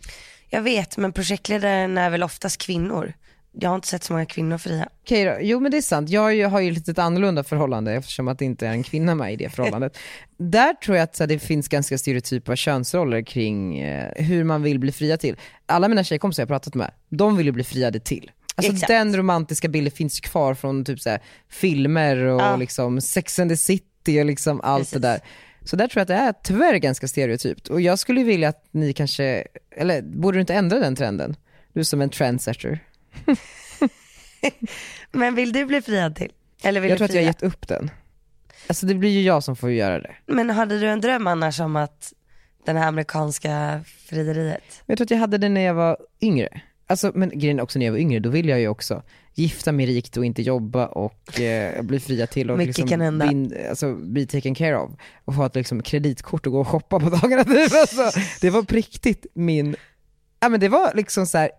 Jag vet, men projektledaren är väl oftast kvinnor. Jag har inte sett så många kvinnor fria. Okej då, jo men det är sant. Jag har ju, har ju lite ett annorlunda förhållande eftersom att det inte är en kvinna med i det förhållandet. Där tror jag att så här, det finns ganska stereotypa könsroller kring eh, hur man vill bli fria till. Alla mina tjejkompisar jag pratat med, de vill ju bli friade till. Alltså Exakt. den romantiska bilden finns ju kvar från typ så här, filmer och liksom Sex and the City och liksom allt Precis. det där. Så där tror jag att det är tyvärr ganska stereotypt. Och jag skulle ju vilja att ni kanske, eller borde du inte ändra den trenden? Du är som en trendsetter. Men vill du bli friad till? Eller vill Jag du tror att jag har fria? gett upp den. Alltså det blir ju jag som får göra det. Men hade du en dröm annars om att den här amerikanska frieriet? Men jag tror att jag hade det när jag var yngre. Alltså, men grejen är också när jag var yngre, då ville jag ju också gifta mig rikt och inte jobba och eh, bli fria till och Mycket kan hända. bin, alltså, bli taken care of. Och ha ett liksom, kreditkort och gå och shoppa på dagarna. Typ. Alltså, det var på riktigt min, ja men det var liksom så här.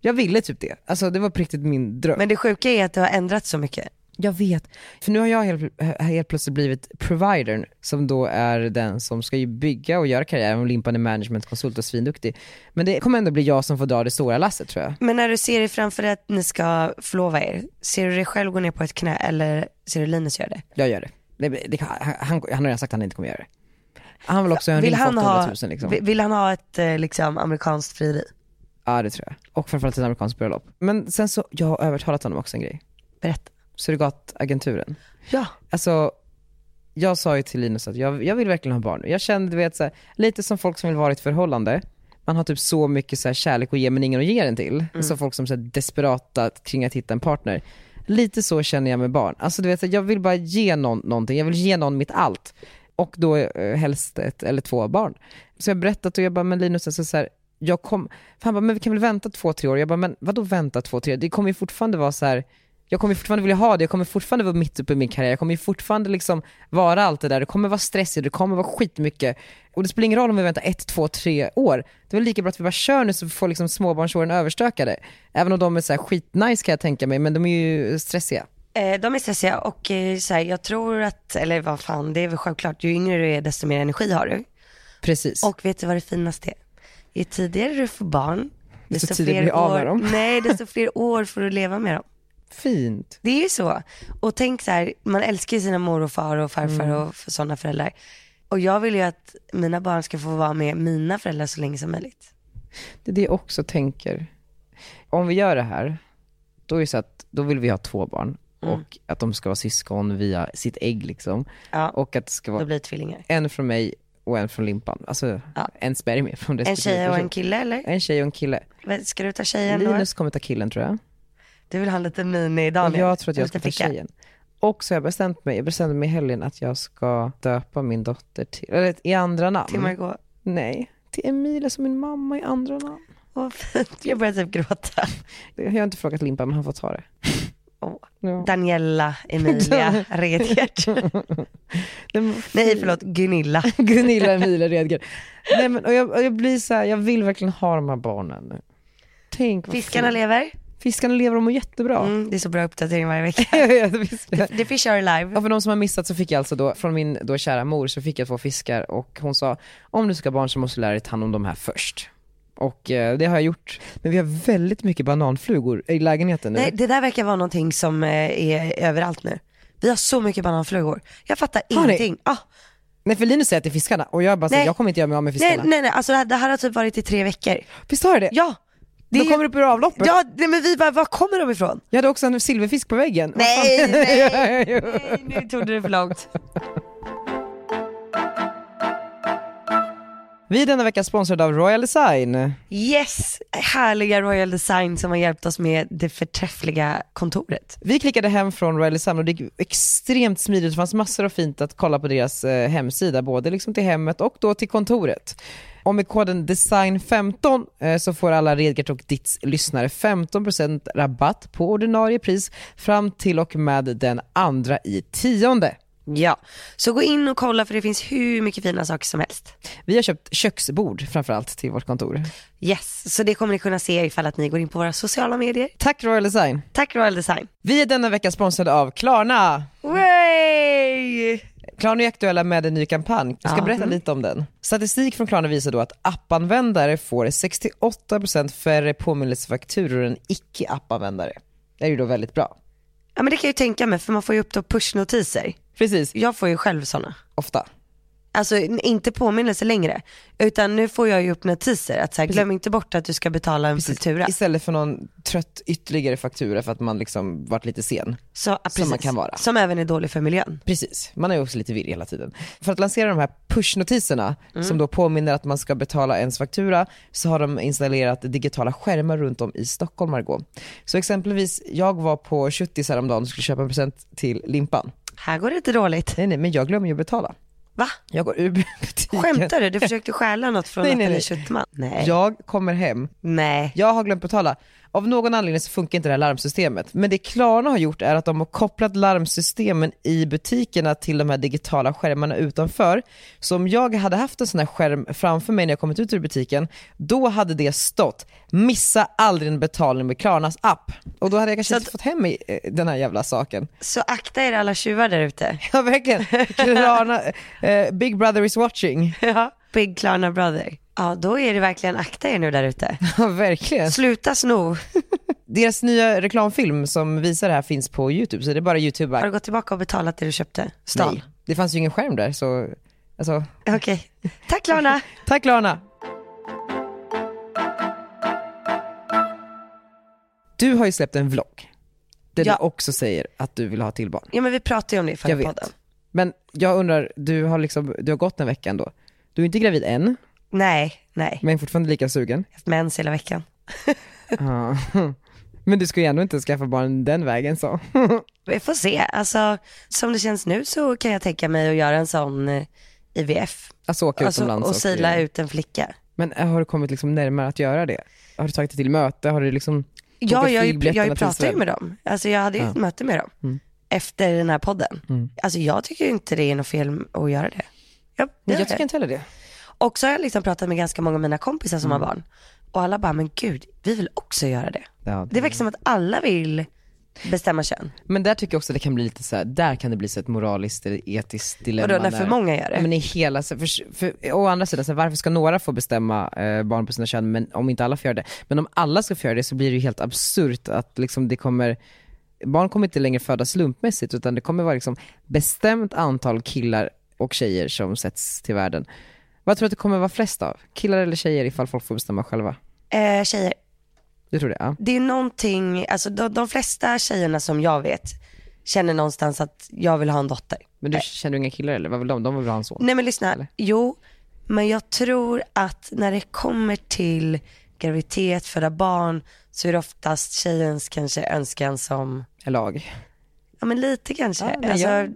jag ville typ det. Alltså det var på riktigt min dröm. Men det sjuka är att det har ändrats så mycket. Jag vet. För nu har jag helt, eh, helt plötsligt blivit providern som då är den som ska ju bygga och göra karriär. Och Limpan är managementkonsult och svinduktig. Men det kommer ändå bli jag som får dra det stora lasset tror jag. Men när du ser dig framför dig att ni ska förlova er, ser du dig själv gå ner på ett knä eller ser du Linus göra det? Jag gör det. Nej, men det kan- han, han han har redan sagt att han inte kommer göra det. Han vill också ha en ring på 800 ha, 000 liksom. vill- vill han ha ett eh, liksom, amerikanskt frieri? Ja det tror jag. Och framförallt ett amerikanskt bröllop. Men sen så, jag har övertalat honom också en grej. Berätta. Surrogatagenturen. Ja. alltså, jag sa ju till Linus att jag, jag vill verkligen ha barn. Jag kände, du vet, så här, lite som folk som vill vara i ett förhållande. Man har typ så mycket så här, kärlek att ge men ingen att ge den till. Så folk som är så här, desperata kring att hitta en partner. Lite så känner jag med barn. Alltså du vet, så här, jag vill bara ge någon någonting. Jag vill ge någon mitt allt. Och då eh, helst ett eller två barn. Så jag berättat och jag bara, men Linus alltså, så här, jag kom, för han bara, men vi kan väl vänta två, tre år? Jag bara, men vadå vänta två, tre år? Det kommer ju fortfarande vara så här jag kommer fortfarande vilja ha det, jag kommer fortfarande vara mitt uppe i min karriär, jag kommer ju fortfarande liksom vara allt det där, det kommer vara stressigt, det kommer vara skitmycket. Och det spelar ingen roll om vi väntar ett, två, tre år. Det är väl lika bra att vi bara kör nu så får liksom småbarnsåren överstökade. Även om de är så här skitnice kan jag tänka mig, men de är ju stressiga. Eh, de är stressiga och eh, så här, jag tror att, eller vad fan, det är väl självklart, ju yngre du är desto mer energi har du. Precis. Och vet du vad det finaste är? Ju tidigare du får barn, Desto tidigare blir du av år, med dem. Nej, desto fler år får du leva med dem. Fint. Det är ju så. Och tänk så här, man älskar ju sina mor och far och farfar Mm. och för sådana föräldrar. Och jag vill ju att mina barn ska få vara med mina föräldrar så länge som möjligt. Det är det jag också tänker. Om vi gör det här, då är det så att då vill vi ha två barn. Mm. Och att de ska vara syskon via sitt ägg liksom. Ja. Och att det ska vara Då blir det tvillingar. en från mig och en från Limpan. Alltså Ja. en spermie från En respektive tjej och en person. kille eller? En tjej och en kille. Vad, Ska du ta tjejen då? Eh. Linus kommer ta killen tror jag. Du vill ha en liten mini Och Daniel? jag tror att En jag ska liten ta flicka. tjejen. Och så har jag bestämt mig, jag bestämde mig i helgen att jag ska döpa min dotter till, eller i andra namn. Till Margot. Nej, till Emilia som min mamma i andra namn. Vad fint. Jag börjar typ gråta. Jag har inte frågat Limpa men han får ta det. Åh. Ja. Daniela, Emilia, Redgert. Nej, men vad fint. Nej förlåt, Gunilla. Gunilla Emilia Redgren. Nej men och jag, och jag blir så här, jag vill verkligen ha de här barnen nu. Tänk vad Fiskarna fint. lever. Fiskarna lever och mår jättebra. Mm, det är så bra uppdatering varje vecka. jag vet, visst. The Fish Are Alive. Ja, för de som har missat så fick jag alltså då, från min då kära mor, så fick jag två fiskar och hon sa, om du ska ha barn så måste du lära dig ta hand om de här först. Och eh, det har jag gjort. Men vi har väldigt mycket bananflugor i lägenheten nu. Nej, det där verkar vara någonting som eh, är överallt nu. Vi har så mycket bananflugor. Jag fattar Har ni? ingenting. Ah, Nej, för Linus säger att det är fiskarna och jag bara, så, Nej. jag kommer inte göra mig av med nej, fiskarna. nej, nej, alltså det här, det här har typ varit i tre veckor. Visst har jag det? Ja, de det är ju- kommer upp ur avloppet. ja nej, men vi bara, var kommer de ifrån? Jag hade också en silverfisk på väggen. Vad Nej, fan? nej, nej, nu tog du det för långt. Vi är denna vecka sponsrade av Royal Design. Yes, härliga Royal Design som har hjälpt oss med det förträffliga kontoret. Vi klickade hem från Riley Sam och det gick extremt smidigt. Det fanns massor av fint att kolla på deras eh, hemsida, både liksom till hemmet och då till kontoret. Och med koden design15 eh, så får alla Redgert och Ditts lyssnare 15% rabatt på ordinarie pris fram till och med den andra i tionde. Ja, så gå in och kolla för det finns hur mycket fina saker som helst. Vi har köpt köksbord framförallt till vårt kontor. Yes, så det kommer ni kunna se ifall att ni går in på våra sociala medier. Tack Royal Design. Tack Royal Design. Vi är denna vecka sponsrade av Klarna. Way! Klarna är aktuella med en ny kampanj. Jag ska Ja. berätta lite om den. Statistik från Klarna visar då att appanvändare får 68% färre påminnelsefakturor än icke-appanvändare. Det är ju då väldigt bra. Ja men det kan jag ju tänka mig för man får ju upp då pushnotiser. Precis, Jag får ju själv sådana. ofta. alltså n- inte påminnelse längre. Utan nu får jag ju upp notiser att så här, glöm inte bort att du ska betala en faktura. Istället för någon trött ytterligare faktura för att man liksom varit lite sen. Så, ja, Som man precis. kan vara. Som även är dålig för miljön. Precis, man är ju också lite virrig hela tiden. För att lansera de här pushnotiserna Mm. som då påminner att man ska betala ens faktura så har de installerat digitala skärmar runt om i Stockholm Margot. Så exempelvis, jag var på Schuttis häromdagen och skulle köpa en present till Limpan. Här går det inte dåligt. Nej nej, men jag glömmer ju att betala. Va? Jag går ur butiken. Skämtar du? Du försökte stjäla något från Nej, nej, Nathalie nej. Schuttman? Nej. Jag kommer hem, Nej. jag har glömt betala. Av någon anledning så funkar inte det här larmsystemet. Men det Klarna har gjort är att de har kopplat larmsystemen i butikerna till de här digitala skärmarna utanför. Så om jag hade haft en sån här skärm framför mig när jag kommit ut ur butiken, då hade det stått “Missa aldrig en betalning med Klarnas app”. Och då hade jag kanske Så inte fått hem i- eh, den här jävla saken. Så akta er alla tjuvar där ute. Ja verkligen. Klarna, eh, Big brother is watching. Big Klarna Brother. Ja, då är det verkligen akta er nu där ute. Ja verkligen. Sluta sno. Deras nya reklamfilm som visar det här finns på YouTube, så det är bara YouTube. Har du gått tillbaka och betalat det du köpte? Stan? Nej, det fanns ju ingen skärm där så, alltså, Okej. Tack Klarna. tack Lana! Du har ju släppt en vlogg, där Ja. du också säger att du vill ha till barn. Ja men vi pratade ju om det i Jag förra vet. podden. Men jag undrar, du har liksom, du har gått en vecka ändå. Du är inte gravid än, Nej, nej. men fortfarande lika sugen. Haft mens hela veckan. Ja. Men du ska ju ändå inte skaffa barn den vägen så. Vi får se. Alltså, som det känns nu så kan jag tänka mig att göra en sån eh, IVF. Alltså åka Alltså, utomlands och sila ut en flicka. Men eh, har du kommit liksom närmare att göra det? Har du tagit dig till möte? Har du liksom Ja, bokat jag, har ju- jag flygbiljetterna har ju till pratat ju Israel? med dem. Alltså jag hade ju ett möte med dem Mm. efter den här podden. Alltså jag tycker ju inte det är något fel att göra det. Ja, det Nej, gör jag tycker inte heller det. Och så har jag liksom pratat med ganska många av mina kompisar som Mm. har barn. Och alla bara, men gud, vi vill också göra det. Ja, Det verkar som att alla vill bestämma kön. Men där tycker jag också det kan bli lite så här, där kan det bli så ett moraliskt eller etiskt dilemma. Vadå, när för många gör det? Ja, Men i hela, så för, för, å andra sidan, så här, varför ska några få bestämma eh, barn på sina kön, men om inte alla får göra det? Men om alla ska få göra det så blir det ju helt absurt att liksom det kommer, barn kommer inte längre födas slumpmässigt utan det kommer vara liksom bestämt antal killar och tjejer som sätts till världen. Vad tror du att det kommer vara flest av? Killar eller tjejer ifall folk får bestämma själva? Eh, tjejer, Du tror det? Ja. det är någonting, alltså de, de flesta tjejerna som jag vet känner någonstans att jag vill ha en dotter. Men du känner du inga killar eller? Vad vill de? De vill ha en son? Nej men lyssna, jo, men jag tror att när det kommer till graviditet, föda barn, så är det oftast tjejens kanske önskan som, Lag? ja men lite kanske. Ja, men alltså, jag-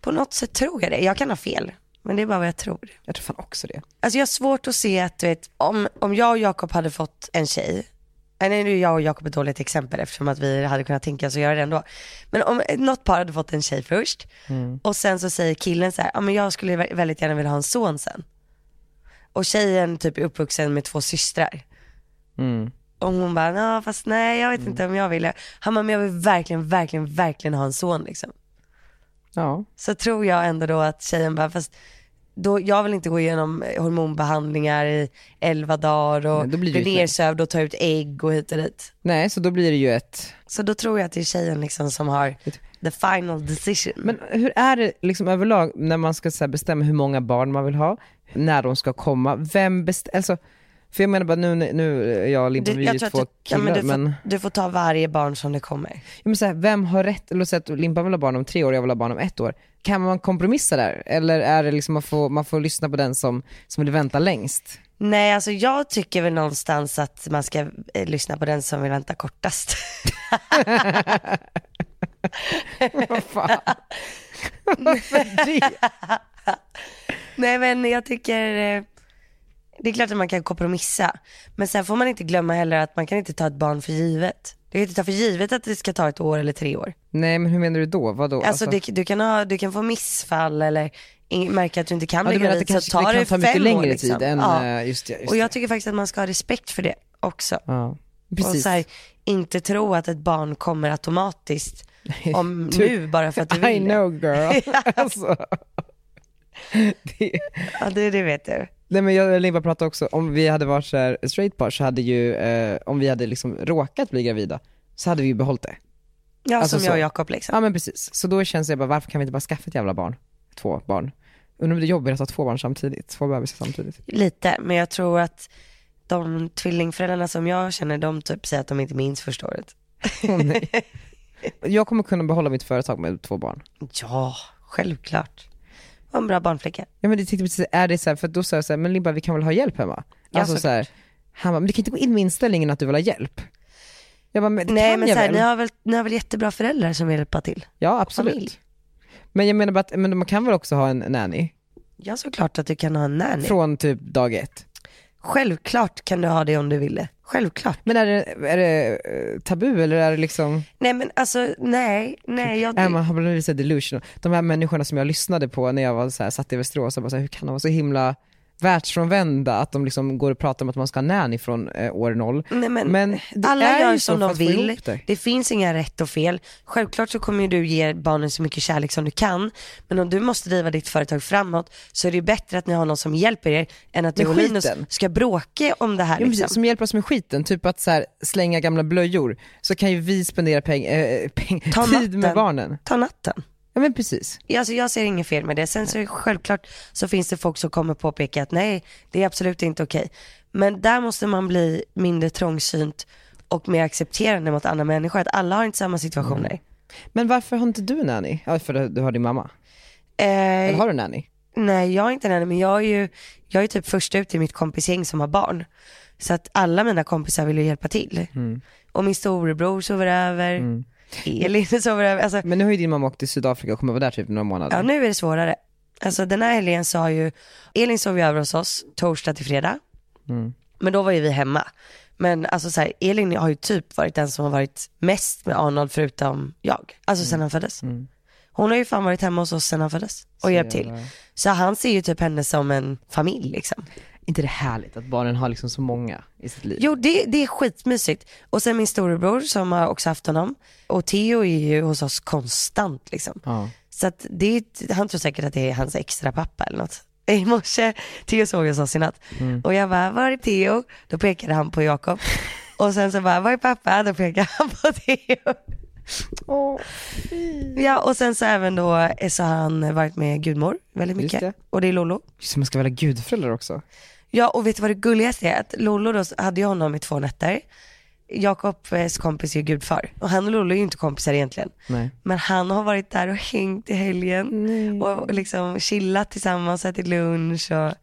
På något sätt tror jag det. Jag kan ha fel, men det är bara vad jag tror. Jag tror fan också det. Alltså jag har svårt att se att du vet, om, om jag och Jakob hade fått en tjej, nej nu är jag och Jakob ett dåligt exempel eftersom att vi hade kunnat tänka oss att göra det ändå. Men om något par hade fått en tjej först och sen så säger killen så här, ja men jag skulle vä- väldigt gärna vilja ha en son sen. Och tjejen typ är uppvuxen med två systrar. Och hon bara, "Nå, fast nej jag vet inte om jag vill det." Han bara, men jag vill verkligen, verkligen, verkligen ha en son liksom Ja. så tror jag ändå då att tjejen bara, fast då, jag vill inte gå igenom eh, hormonbehandlingar i elva dagar och Nej, då blir det bli ju ett nej. nersövd och ta ut ägg och hit och dit. Nej, så då blir det ju ett... Så då tror jag att det är tjejen liksom som har the final decision. Men hur är det liksom överlag när man ska så här bestämma hur många barn man vill ha, när de ska komma, vem bestämmer? Alltså, för jag menar bara nu, nu eh, jag och Limpa, du, vi är ju två du, ja, killar, men men, du, får, du får ta varje barn som det kommer. ja, men så här, vem har rätt? Låt säga att Limpa vill ha barn om tre år och jag vill ha barn om ett år. Kan man kompromissa där? Eller är det liksom man får, man får lyssna på den som, som vill vänta längst? Nej, alltså jag tycker väl någonstans att man ska eh, lyssna på den som vill vänta kortast. Vad fan? Varför det? Nej men jag tycker, eh, det är klart att man kan kompromissa. Men sen får man inte glömma heller att man kan inte ta ett barn för givet. Du kan inte ta för givet att det ska ta ett år eller tre år. Nej men hur menar du då? Vadå? Alltså, Du, du, kan ha, du kan få missfall eller in, märka att du inte kan ja, du bli menar att det gravid kanske så tar det det, kan ta mycket fem längre år, tid liksom. än, ja. eh, just det. Just Och det. jag tycker faktiskt att man ska ha respekt för det också. ja. Och Precis. så här, inte tro att ett barn kommer automatiskt om Du- nu bara för att du I vill det. know girl. alltså. det, Ja det, det vet du. nej men jag och Limpa pratade också, om vi hade varit så här straight par så hade ju, eh, om vi hade liksom råkat bli gravida så hade vi ju behållit det. Ja Alltså som jag och så. Jakob liksom. Ja men precis. Så då känns det bara, varför kan vi inte bara skaffa ett jävla barn? Två barn. Undrar om det är jobbigt att ha två barn samtidigt, två bebisar samtidigt. Lite, men jag tror att de tvillingföräldrarna som jag känner, de typ säger att de inte minns första året. Åh, nej. Jag kommer kunna behålla mitt företag med två barn. Ja, självklart. Var en bra barnflicka. Ja men det tyckte precis, är det så här, för då sa jag så här, men Limba vi kan väl ha hjälp hemma? Ja, alltså så här, han bara, men du kan inte gå in med inställningen att du vill ha hjälp. Jag bara, men det Nej kan men jag så här, väl? ni, har väl, ni har väl jättebra föräldrar som vill hjälpa till? Ja absolut. familj. Men jag menar bara att, men man kan väl också ha en nanny? Ja såklart att du kan ha en nanny. Från typ dag ett. Självklart kan du ha det om du ville. Självklart. Men är det, är det eh, tabu eller är det liksom, Nej men alltså nej, nej. Jag, är man har blivit så delusional? De här människorna som jag lyssnade på när jag var så här, satt i Västerås, jag bara så här, hur kan de vara så himla världsfrånvända att de liksom går och pratar om att man ska ha nanny från eh, år noll. nej men, Men det alla är gör ju som så de för att få ihop vill. det. Det finns inga rätt och fel. Självklart så kommer ju du ge barnen så mycket kärlek som du kan. Men om du måste driva ditt företag framåt så är det ju bättre att ni har någon som hjälper er än att du Men och Linus skiten. ska bråka om det här. Ja, men liksom. precis, som hjälper oss med skiten, typ att så här, slänga gamla blöjor, så kan ju vi spendera peng, eh, peng, Ta tid med natten. barnen. Ta natten. Ja men precis. Ja, Alltså jag ser inget fel med det. Sen så är det självklart så finns det folk som kommer påpeka att nej, det är absolut inte okej. Men där måste man bli mindre trångsynt och mer accepterande mot andra människor. Att alla har inte samma Mm. situationer. Men varför har inte du nanny? Ja för du har din mamma. Eller Eh, har du nanny? nej, jag är inte den, men jag är ju jag är typ först ut i mitt kompisgäng som har barn. Så att alla mina kompisar vill ju hjälpa till. Och min storebror sover över, Elin sover över. Alltså, Men nu har ju din mamma åkt till Sydafrika och kommer vara där typ några månader. Ja, nu är det svårare. Alltså den här helgen sa ju, Elin sov ju över hos oss torsdag till fredag. Men då var ju vi hemma. Men alltså så här, Elin har ju typ varit den som har varit mest med Arnold förutom jag. Alltså sen han föddes. Hon har ju fan varit hemma hos oss sen han föddes och hjälpt till. jävla- Så han ser ju typ henne som en familj liksom. inte det härligt att barnen har liksom så många i sitt liv? Jo, det, det är skitmysigt. Och sen min storebror som har också haft honom. Och Theo är ju hos oss konstant liksom. Ja. Så att det, är ett- han tror säkert att det är hans extra pappa eller något. I morse, Theo såg oss oss i natt. Mm. Och jag bara, var är Theo? Då pekade han på Jakob. Och sen så bara, var är pappa? Då pekade han på Theo. Ja, och sen så även då eh, så har han varit med gudmor väldigt Just mycket. det. Och det är Lollo. Just det, man ska välja gudföräldrar också. Ja och vet du vad det gulligaste är? Att Lollo då hade ju honom i två nätter. Jakobs kompis är ju gudfar och han och Lollo är ju inte kompisar egentligen. Nej. Men han har varit där och hängt i helgen och liksom chillat tillsammans, ätit lunch och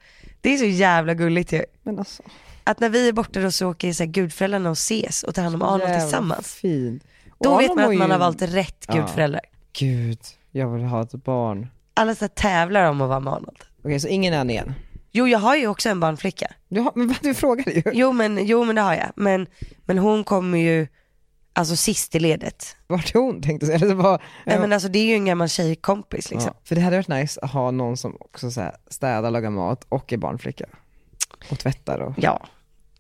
det är så jävla gulligt ju. Men alltså, Att när vi är borta då så åker så här gudföräldrarna och ses och tar hand om Arnold jävla tillsammans. Fint. Och Då Arnold vet man mår att man ju- har valt rätt Ja. gudföräldrar. Gud, jag vill ha ett barn. Alla så här tävlar om att vara med Arnold. Okej, så ingen nanny än? Jo jag har ju också en barnflicka. Du har, men vad du frågade ju. Jo men, jo men det har jag. Men, men hon kommer ju alltså sist i ledet. Vart är hon tänkte jag säga. Eller så bara, Nej, men alltså det är ju en gammal tjejkompis liksom. Ja, för det hade varit nice att ha någon som också så här städar, lagar mat och är barnflicka. Och tvättar och... Ja.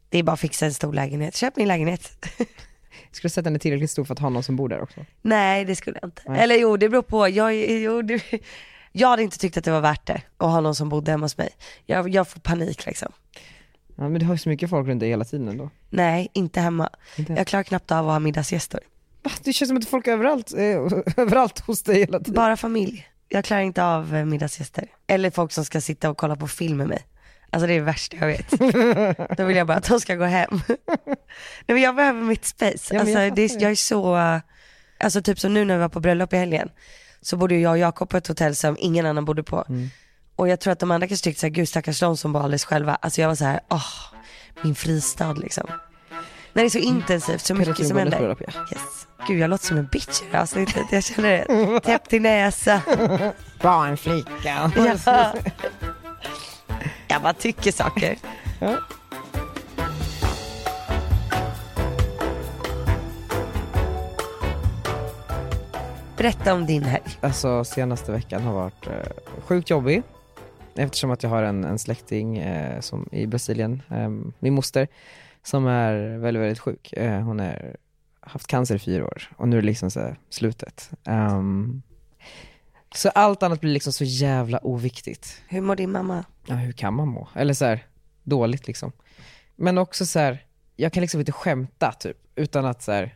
Det är bara att fixa en stor lägenhet. Köp min lägenhet. Skulle sätta henne tillräckligt stor för att ha någon som bor där också. Nej det skulle jag inte. Eller jo det beror på. Jag, är- jo, det, jag hade inte tyckt att det var värt det att ha någon som bodde hemma hos mig. Jag, jag får panik liksom. Ja, men du har ju så mycket folk runt dig hela tiden ändå. Nej, inte hemma. Inte? Jag klarar knappt av att ha middagsgäster. Va? Det känns som att folk är överallt, eh, överallt hos dig hela tiden. Bara familj. Jag klarar inte av eh, middagsgäster. Eller folk som ska sitta och kolla på film med mig. Alltså det är det värsta jag vet. Då vill jag bara att de ska gå hem. Nej men jag behöver mitt space. Ja, men alltså, jag jag, det fattar är, det. jag är så, eh, alltså typ som nu när vi var på bröllop i helgen. Så bodde ju jag och Jakob på ett hotell som ingen annan bodde på. Mm. Och jag tror att de andra kanske tyckte såhär, gud stackars de som bor alldeles själva. Alltså jag var så här, åh, min fristad liksom. När det är så intensivt, så mycket som Pedofilinbundet händer. bröllop, ja. Yes. Gud jag låter som en bitch i det här avsnittet, jag känner det. Täppt i näsa. Barnflicka. Ja. Jag bara tycker saker. Ja. Berätta om din helg. Alltså senaste veckan har varit eh, sjukt jobbig. Eftersom att jag har en, en släkting eh, som, i Brasilien, eh, min moster, som är väldigt, väldigt sjuk. Eh, hon har haft cancer i fyra år och nu är det liksom så här, slutet. Ehm, så allt annat blir liksom så jävla oviktigt. Hur mår din mamma? Ja, hur kan man må? Eller så här, dåligt liksom. Men också så här, jag kan liksom inte skämta typ, utan att så här,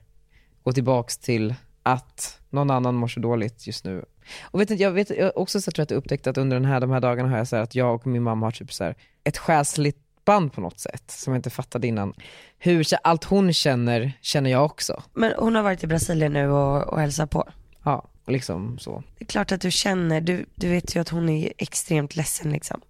gå tillbaks till att någon annan mår så dåligt just nu. Och vet, inte, jag vet jag har också så tror jag att jag upptäckte att under den här, de här dagarna har jag så här, att jag och min mamma har typ så här, ett själsligt band på något sätt som jag inte fattade innan. Hur så- allt hon känner, känner jag också. Men hon har varit i Brasilien nu och, och hälsat på. Ja, liksom så. Det är klart att du känner, du, du vet ju att hon är extremt ledsen liksom.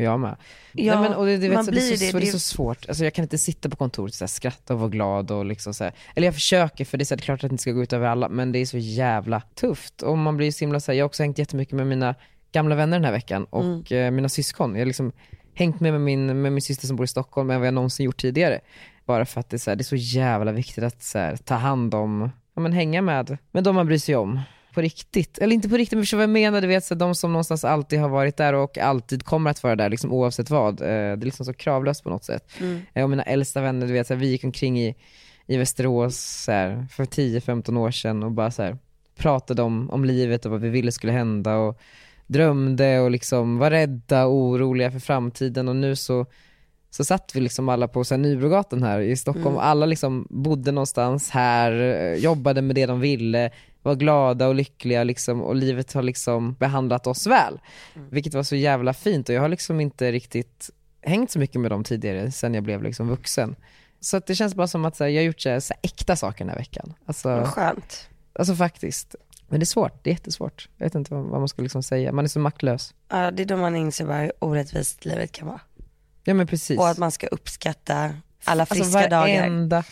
Jag med. Ja, Nej, men, och det, det, vet, man så, blir det, är så, det. det, Det är är- så svårt. Alltså, jag kan inte sitta på kontoret och så här, skratta och vara glad. Och liksom, så här. Eller jag försöker för det är, så här, det är klart att det inte ska gå ut över alla men det är så jävla tufft. Och man blir så himla, så här, jag har också hängt jättemycket med mina gamla vänner den här veckan och Mm. eh, mina syskon. Jag har liksom hängt med, med, min, med min syster som bor i Stockholm än vad jag någonsin gjort tidigare. Bara för att det är så, här, det är så jävla viktigt att så här, ta hand om, ja, men hänga med, med de man bryr sig om. På riktigt. Eller inte på riktigt men förstår vad jag menar. Du vet, så här, de som någonstans alltid har varit där och alltid kommer att vara där liksom, oavsett vad. Eh, Det är liksom så kravlöst på något sätt. Eh, Och mina äldsta vänner, du vet, så här, vi gick omkring i, i Västerås så här, för 10-15 år sedan och bara så här, pratade om, om livet och vad vi ville skulle hända. Och, drömde och liksom var rädda och oroliga för framtiden och nu så så satt vi liksom alla på så här, Nybrogatan här i Stockholm och alla liksom bodde någonstans här, eh, jobbade med det de ville, var glada och lyckliga liksom, och livet har liksom behandlat oss väl. Vilket var så jävla fint och jag har liksom inte riktigt hängt så mycket med dem tidigare sen jag blev liksom vuxen. Så att det känns bara som att så här, jag har gjort så här, så här, äkta saker den här veckan. Alltså, Skönt. alltså faktiskt. Men det är svårt, det är jättesvårt. Jag vet inte vad, vad man ska liksom säga, man är så maktlös. Ja, det är då man inser bara hur orättvist livet kan vara. Ja men precis. Och att man ska uppskatta alla friska alltså, dagar. varenda...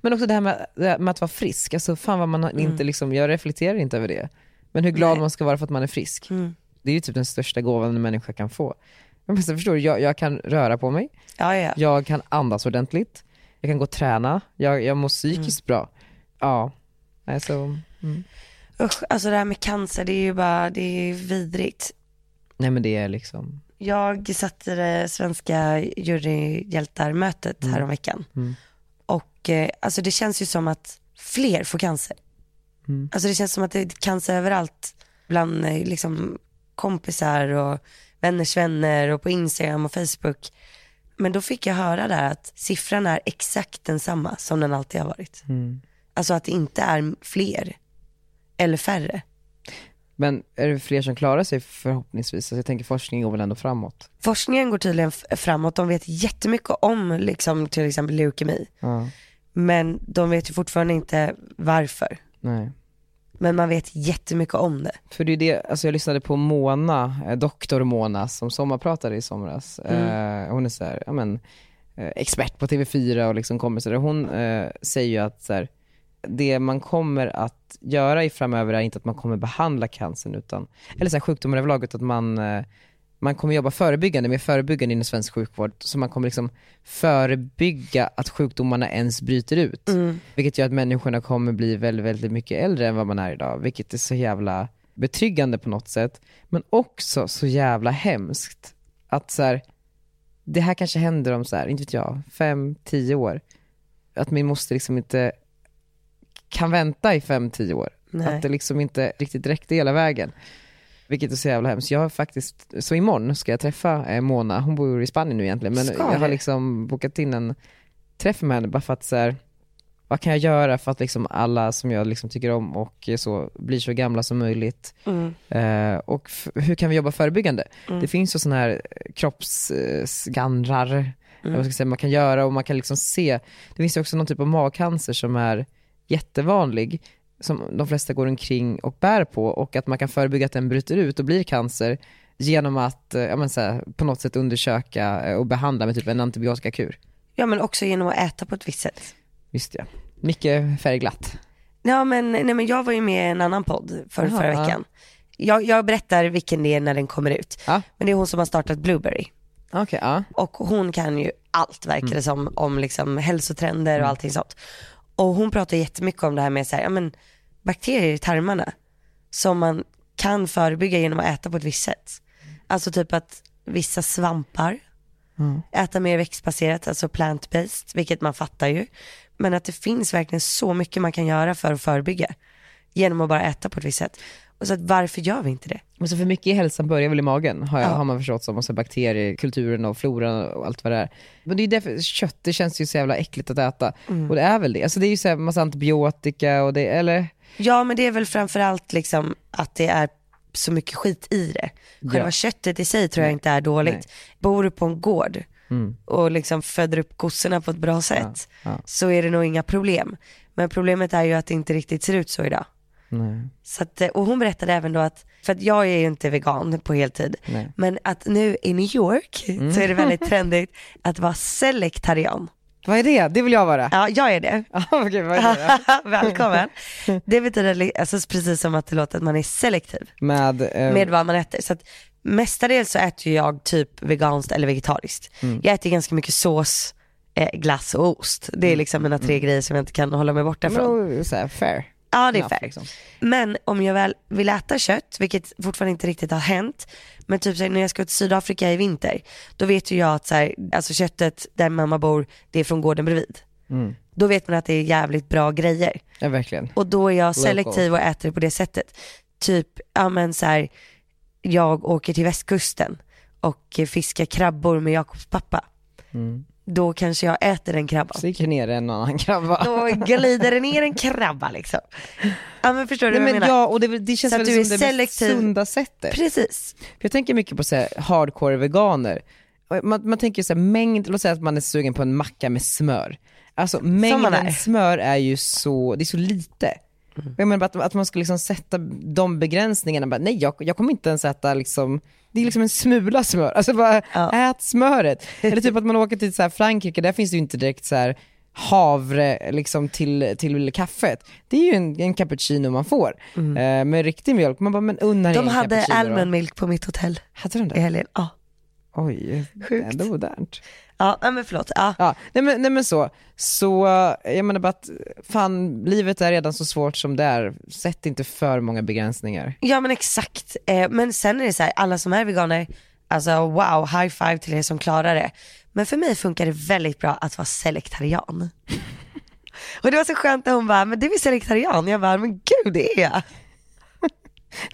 Men också det här med, det här med att vara frisk, alltså fan vad man har- Mm. inte liksom, jag reflekterar inte över det. Men hur glad man ska vara för att man är frisk. Mm. Det är ju typ den största gåvan en människa kan få. Men sen förstår du, jag, jag kan röra på mig, Ja, ja. jag kan andas ordentligt, jag kan gå och träna, jag, Mm. jag mår psykiskt bra. Ja, alltså, Usch, alltså det här med cancer, det är ju bara, det är ju vidrigt. nej men det är liksom, Jag satt i det svenska juryhjältar-mötet häromveckan. Och eh, alltså det känns ju som att fler får cancer. Alltså det känns som att det är cancer överallt bland eh, liksom, kompisar och vänners vänner och på Instagram och Facebook. Men då fick jag höra där att siffran är exakt densamma som den alltid har varit. Alltså att det inte är fler eller färre. men är det fler som klarar sig förhoppningsvis? Alltså, jag tänker forskningen går väl ändå framåt. Forskningen går tydligen f- framåt. De vet jättemycket om liksom, till exempel leukemi. Ja, Men de vet ju fortfarande inte varför. nej. Men man vet jättemycket om det. För det är det, alltså jag lyssnade på Mona, eh, doktor Mona som sommarpratade i somras. Eh, hon är så här, ja, men, eh, expert på TV4 och liksom kommer så där. Hon eh, säger ju att så här, det man kommer att göra i framöver är inte att man kommer behandla cancern, utan, eller så här, sjukdomar överlag, utan att man, eh, man kommer jobba förebyggande, mer förebyggande inom svensk sjukvård. Så man kommer liksom förebygga att sjukdomarna ens bryter ut. Mm. Vilket gör att människorna kommer bli väldigt, väldigt mycket äldre än vad man är idag. Vilket är så jävla betryggande på något sätt. Men också så jävla hemskt. Att så här, det här kanske händer om så här, inte vet jag, fem, tio år. Att min moster liksom inte kan vänta i fem, tio år. Nej. Att det liksom inte riktigt räckte hela vägen. Vilket är så jävla hemskt. Jag har faktiskt, så imorgon ska jag träffa eh, Mona, hon bor i Spanien nu egentligen, men Ska jag har du? liksom bokat in en träff med henne bara för att så här, vad kan jag göra för att liksom alla som jag liksom tycker om och så blir så gamla som möjligt? Mm. Eh, och f- hur kan vi jobba förebyggande? Det finns ju sådana här eh, kroppsskannrar, Mm. eller vad ska jag säga, man kan göra och man kan liksom se. Det finns ju också någon typ av magcancer som är jättevanlig, som de flesta går omkring och bär på och att man kan förebygga att den bryter ut och blir cancer genom att eh, ja, men så här, på något sätt undersöka eh, och behandla med typ en antibiotikakur. Ja men också genom att äta på ett visst sätt. Visst ja. Mycket färgglatt. Ja, men, nej, men jag var ju med i en annan podd för, Jaha, förra ja. veckan. Jag, jag berättar vilken det är när den kommer ut. Ja. Men det är hon som har startat Blueberry. Okej, ja. Och hon kan ju allt verkar det som, om liksom hälsotrender och allting sånt. Och hon pratar jättemycket om det här med så här, ja, men, bakterier i tarmarna som man kan förebygga genom att äta på ett visst sätt. Alltså typ att vissa svampar, äta mer växtbaserat, alltså plant-based, vilket man fattar ju. Men att det finns verkligen så mycket man kan göra för att förebygga genom att bara äta på ett visst sätt. Och så att varför gör vi inte det? Men så för mycket i hälsan börjar väl i magen, har, jag, har man förstått som. Och så bakterier, kulturen och floran och allt vad det är. Men det är ju därför, kött det känns ju så jävla äckligt att äta. Och det är väl det. Alltså det är ju så här massa antibiotika och det, eller? Ja men det är väl framförallt liksom att det är så mycket skit i det. Själva Ja. Mm. köttet i sig tror jag inte är dåligt. Nej. Mm. Bor du på en gård och liksom föder upp kossorna på ett bra sätt ja. så är det nog inga problem. Men problemet är ju att det inte riktigt ser ut så idag. Nej. Så att, eh, och hon berättade även då att, för att jag är ju inte vegan på heltid, Nej. Mm. men att nu i New York så är det väldigt trendigt att vara selektarian. Vad är det? Det vill jag vara. Ja, jag är det. Ja. Okej, vad är det? Välkommen. Det betyder li- alltså, precis som att det låter att man är selektiv Med, eh, med vad man äter. Så att mestadels så äter ju jag typ veganskt eller vegetariskt. Mm. Jag äter ganska mycket sås, eh, glass och ost. Det Mm. är liksom mina tre grejer som jag inte kan hålla mig borta från. med så här, fair. Ja det är enough, fair. Mm. liksom. Men om jag väl vill äta kött, vilket fortfarande inte riktigt har hänt, men typ så här, när jag ska till Sydafrika i vinter, då vet ju jag att så här, alltså köttet där mamma bor, det är från gården bredvid. Mm. Då vet man att det är jävligt bra grejer. Ja, verkligen. Och då är jag Local. selektiv och äter det på det sättet. Typ, ja men så här, jag åker till västkusten och eh, fiskar krabbor med Jakobs pappa. Mm. Då kanske jag äter den krabban. Så gick jag ner en annan krabba. Då glider det ner en krabba liksom. Ja men förstår du Nej, vad jag men menar? ja, och det, det känns Så att väl du som är det selektiv. mest sunda sättet. Precis. För jag tänker mycket på så här, hardcore veganer. Man, man tänker så här, mängd, låt säga att man är sugen på en macka med smör. Alltså man är. Mm. mängden smör är ju så, det är så lite. Jag menar bara att, att man ska liksom sätta de begränsningarna, bara, nej jag, jag kommer inte ens äta liksom, det är liksom en smula smör. Alltså bara ät smöret. Eller typ att man åker till så här Frankrike, där finns det ju inte direkt så här havre liksom till, till kaffet. Det är ju en, en cappuccino man får eh, med riktig mjölk. Man bara, men unna dig Mm. De en hade cappuccino då. almondmilk på mitt hotell Hade de i det? helgen. Ja, Oj, Sjukt. ändå modernt. ja nej, men förlåt. Ja. Ja, nej, men, nej men så, så eh, jag menar bara att fan livet är redan så svårt som det är, sätt inte för många begränsningar. ja men exakt. Eh, Men sen är det så här, alla som är veganer, alltså wow, high five till er som klarar det. Men för mig funkar det väldigt bra att vara selektarian. Och det var så skönt när hon bara, men du är selektarian. Jag bara, men gud det är jag.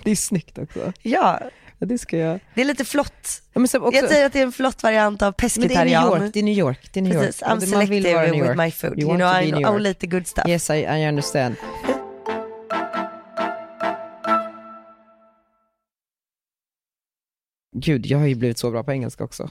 Det är snyggt också. Ja, Ja, det ska jag. det är lite flott. Ja, men sen också, Jag säger att det är en flott variant av men det är New pescetarian. York, det är New York, det är New York. Precis, I'm Och det- man vill vara i selective New with York. my food. You You, want know, to be I New know York. only the good stuff. Yes I, I understand. Gud, jag har ju blivit så bra på engelska också.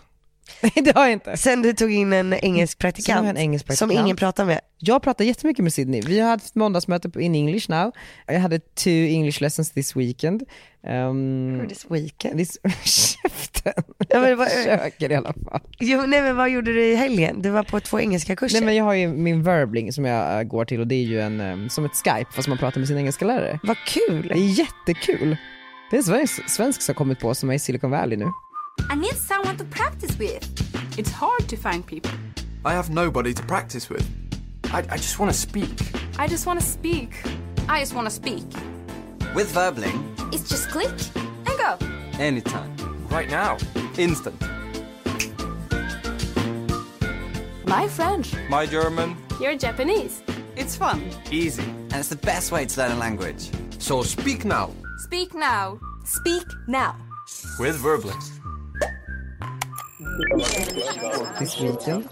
Nej det har jag inte. Sen du tog in en engelsk Sen har praktikant, jag en engelsk som praktikant. ingen pratar med. Jag pratar jättemycket med Sydney. Vi har haft måndagsmöte på- in English now. Jag hade two English lessons this weekend. Um, This weekend. this... Käften! Ja, men vad- Jag försöker i alla fall. Jo, nej men vad gjorde du i helgen? Du var på två engelska kurser. Nej, men jag har ju min verbling som jag äh, går till och det är ju en, um, som ett Skype fast man pratar med sin engelska lärare. Vad kul. Det är jättekul. Det är en svensk, svensk som har kommit på som är i Silicon Valley nu. I need someone to practice with. It's hard to find people. I have nobody to practice with. I, I just want to speak. I just want to speak. I just want to speak. With Verbling, It's just click and go. anytime. Right now. Instant. My French. My German. You're Japanese. It's fun. Easy. And it's the best way to learn a language. So speak now. Speak now. Speak now. With Verbling. This weekend.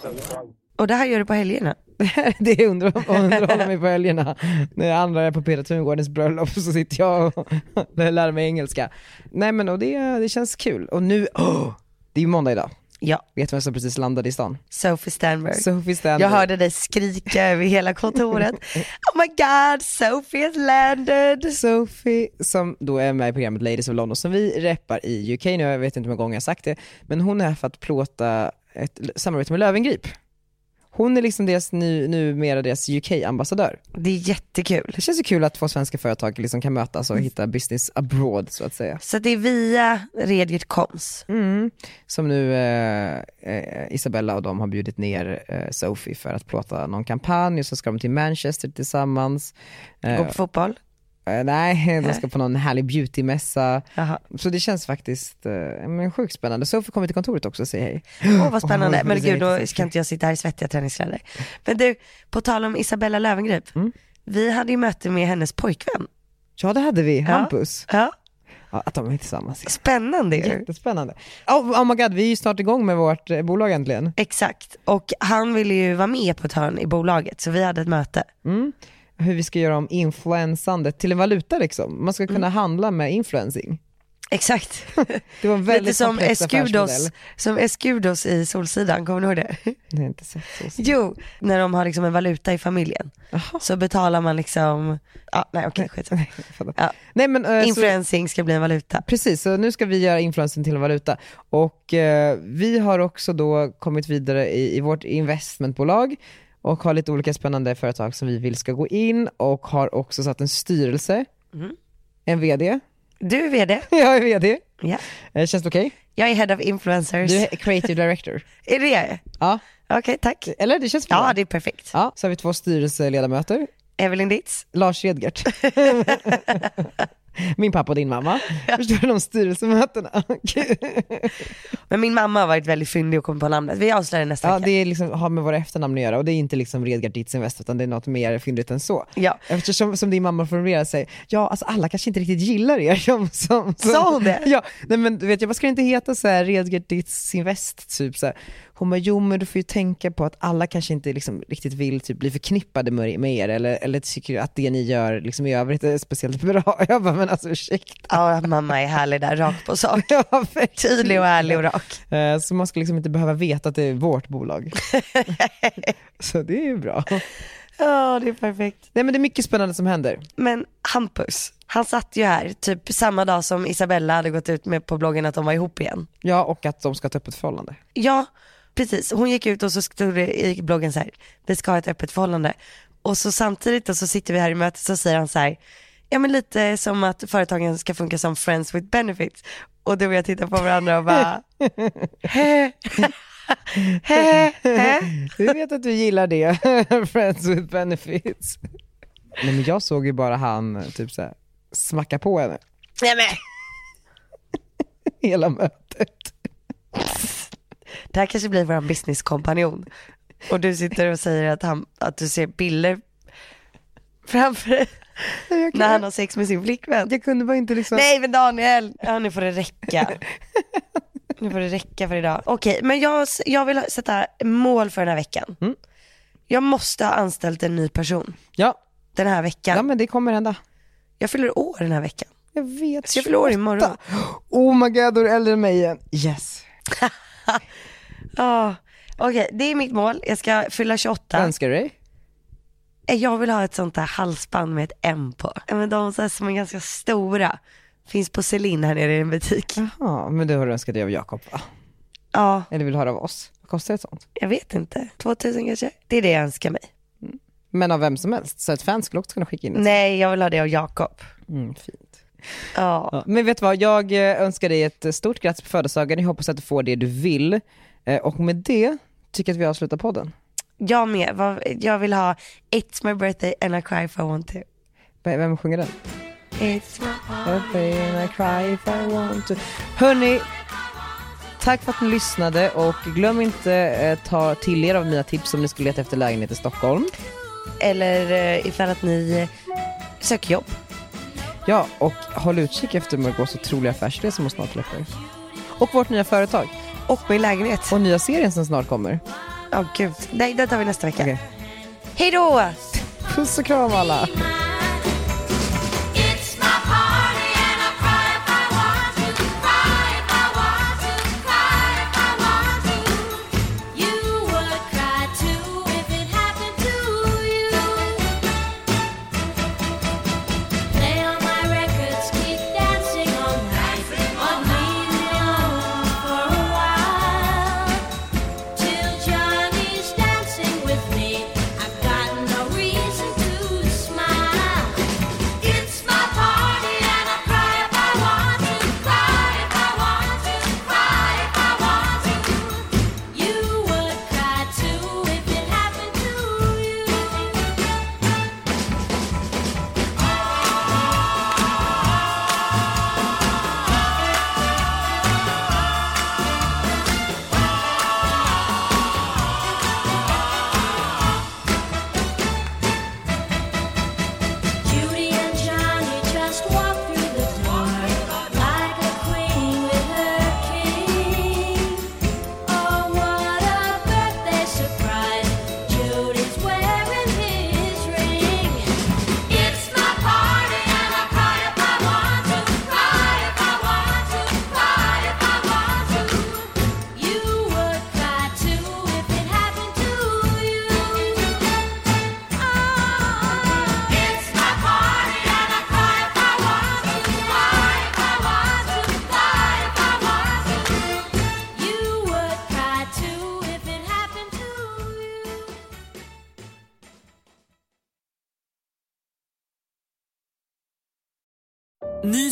Och det här gör du på helgerna. det underhåller, underhåller mig på helgerna. När andra är på Peter Tungårdens bröllop så sitter jag och lär mig engelska. Nej men och det, det känns kul. Och nu, åh! det är ju måndag idag. Ja, Vet du vem som precis landade i stan? Sophie Sternberg. Sophie Stanley. Jag hörde dig skrika över hela kontoret. Oh my god, Sophie has landed. Sophie som då är med i programmet Ladies of London som vi reppar i UK nu, jag vet inte hur många gånger jag har sagt det, men hon är här för att plåta ett l- samarbete med Lövengrip. Hon är liksom deras, nu, numera deras UK-ambassadör. Det är jättekul. Det känns ju kul att två svenska företag liksom kan mötas Mm. och hitta business abroad så att säga. Så det är via Redgert Koms. Mm. Som nu eh, eh, Isabella och de har bjudit ner eh, Sophie för att plåta någon kampanj och så ska de till Manchester tillsammans. Eh, Gå på fotboll. eh, nej, de ska på någon härlig beautymässa. Jaha. Så det känns faktiskt eh, men sjukt spännande. Sophie kommer till kontoret också och säger hej. Åh vad spännande. Åh, Men det ser gud, då jättefint ska inte jag sitta här i svettiga träningskläder. Mm. Men du, på tal om Isabella Löwengrip. Vi hade ju möte med hennes pojkvän Ja det hade vi, Ja. Hampus. Ja. att de är tillsammans. Spännande ju. Jättespännande. Oh, oh my god, vi är ju snart igång med vårt eh, bolag äntligen. Exakt, och han ville ju vara med på ett hörn i bolaget så vi hade ett möte. Mm. Hur vi ska göra om influensandet till en valuta liksom. Man ska Mm. kunna handla med influencing. Exakt. Det var en väldigt Lite som komplex Escudos, affärsmodell. som Escudos i Solsidan, kommer du ihåg det? Nej, inte sett så. Jo, när de har liksom en valuta i familjen. Så betalar man liksom, ja, nej okej skitsamma. Ja. Nej, men, eh, så- Influencing ska bli en valuta. Precis, så nu ska vi göra influensen till en valuta. Och eh, vi har också då kommit vidare i, i vårt investmentbolag och har lite olika spännande företag som vi vill ska gå in och har också satt en styrelse, Mm. en VD. Du är VD. Jag är VD. Ja. Eh, känns det okej? Jag är head of influencers. Du är creative director. Är det jag är? Ja. Okej, tack. Eller det känns Ja, det är perfekt. Ja, så har vi två styrelseledamöter. Evelyn Ditz. Lars Edgert. Min pappa och din mamma. Förstår du de styrelsemötena? Men min mamma har varit väldigt fyndig och kommit på namnet. Vi avslöjar nästa Ja, vecka. det är liksom, har med våra efternamn att göra och det är inte liksom Redgard Ditz Invest utan det är något mer fyndigt än så. Ja. Eftersom som din mamma formulerar sig, ja alltså alla kanske inte riktigt gillar er som... som, som Sa hon det? Ja, nej men du vet jag, vad ska det inte heta så här Redgard Ditz Invest typ så här. Hon bara, jo men du får ju tänka på att alla kanske inte liksom riktigt vill typ bli förknippade med, med er eller, eller tycker att det ni gör liksom i övrigt är speciellt bra. Jag bara, men alltså ursäkta. Ja, mamma är härlig där, rakt på sak. Ja, Tydlig och ärlig och rak. Eh, Så man ska liksom inte behöva veta att det är vårt bolag. så det är ju bra. Ja, det är perfekt. Nej men det är mycket spännande som händer. Men Hampus, han satt ju här typ samma dag som Isabella hade gått ut med på bloggen att de var ihop igen. Ja och att de ska ha ett öppet förhållande. Ja, precis. Hon gick ut och så stod det i bloggen så här, vi ska ha ett öppet förhållande. Och så samtidigt då så sitter vi här i mötet så säger han så här, ja men lite som att företagen ska funka som friends with benefits. Och då vill jag titta på varandra och bara, "Hä?" Vi vet att du gillar det, Friends with benefits. Nej men jag såg ju bara han eh, typ så här, smacka på henne nej men hela mötet. det här kanske blir vår businesskompanjon. Och du sitter och säger att, han, att du ser bilder framför dig när han har sex med sin flickvän. Jag kunde bara inte liksom... Nej men Daniel, ja, nu får det räcka. nu får det räcka för idag. Okej, men jag, jag vill sätta mål för den här veckan. Mm. Jag måste ha anställt en ny person Ja. den här veckan. ja men det kommer hända. Jag fyller år den här veckan. Jag vet. Så jag fyller år imorgon. Oh my god, då är du äldre än mig igen. Yes. Ah, Okej, det är mitt mål. Jag ska fylla 28. Vad önskar du dig? Eh, Jag vill ha ett sånt där halsband med ett M på. Ja, Men de så här som är ganska stora. Finns på Celine här nere i en butik. Jaha, men det har du önskat dig av Jakob va? Ja, Eller vill du höra av oss? Vad kostar ett sånt? jag vet inte. 2000 kanske? Det är det jag önskar mig. Men av vem som helst, så ett fan skulle också kunna skicka in ett Nej, jag vill ha det av Jakob. Mm, fint. Ja. Ja. Men vet du vad, jag eh, önskar dig ett eh, stort grattis på födelsedagen. Jag hoppas att du får det du vill. Eh, Och med det tycker jag att vi avslutar podden. Jag med. Vad- Jag vill ha It's my birthday and I cry if I want to. V- Vem sjunger den? It's my Every and I cry if I want to. Hörni, tack för att ni lyssnade och glöm inte eh, ta till er av mina tips om ni skulle leta efter lägenhet i Stockholm. Eller eh, ifall att ni eh, söker jobb. Ja, och håll utkik efter Mörgås otroliga affärsidé som hon snart släpper. Och vårt nya företag. Och min lägenhet. Och nya serien som snart kommer. Ja, gud. Nej, det tar vi nästa vecka. Okej. Hej då! Puss och kram alla! It's my party and I cry if I want to. Cry if I want to. Cry if I want to. You would cry too if it happened to you. Play on my records, keep dancing all night, or leave me alone for a while. Till Johnny's dancing with me, I've got no reason to smile. Oh, Ny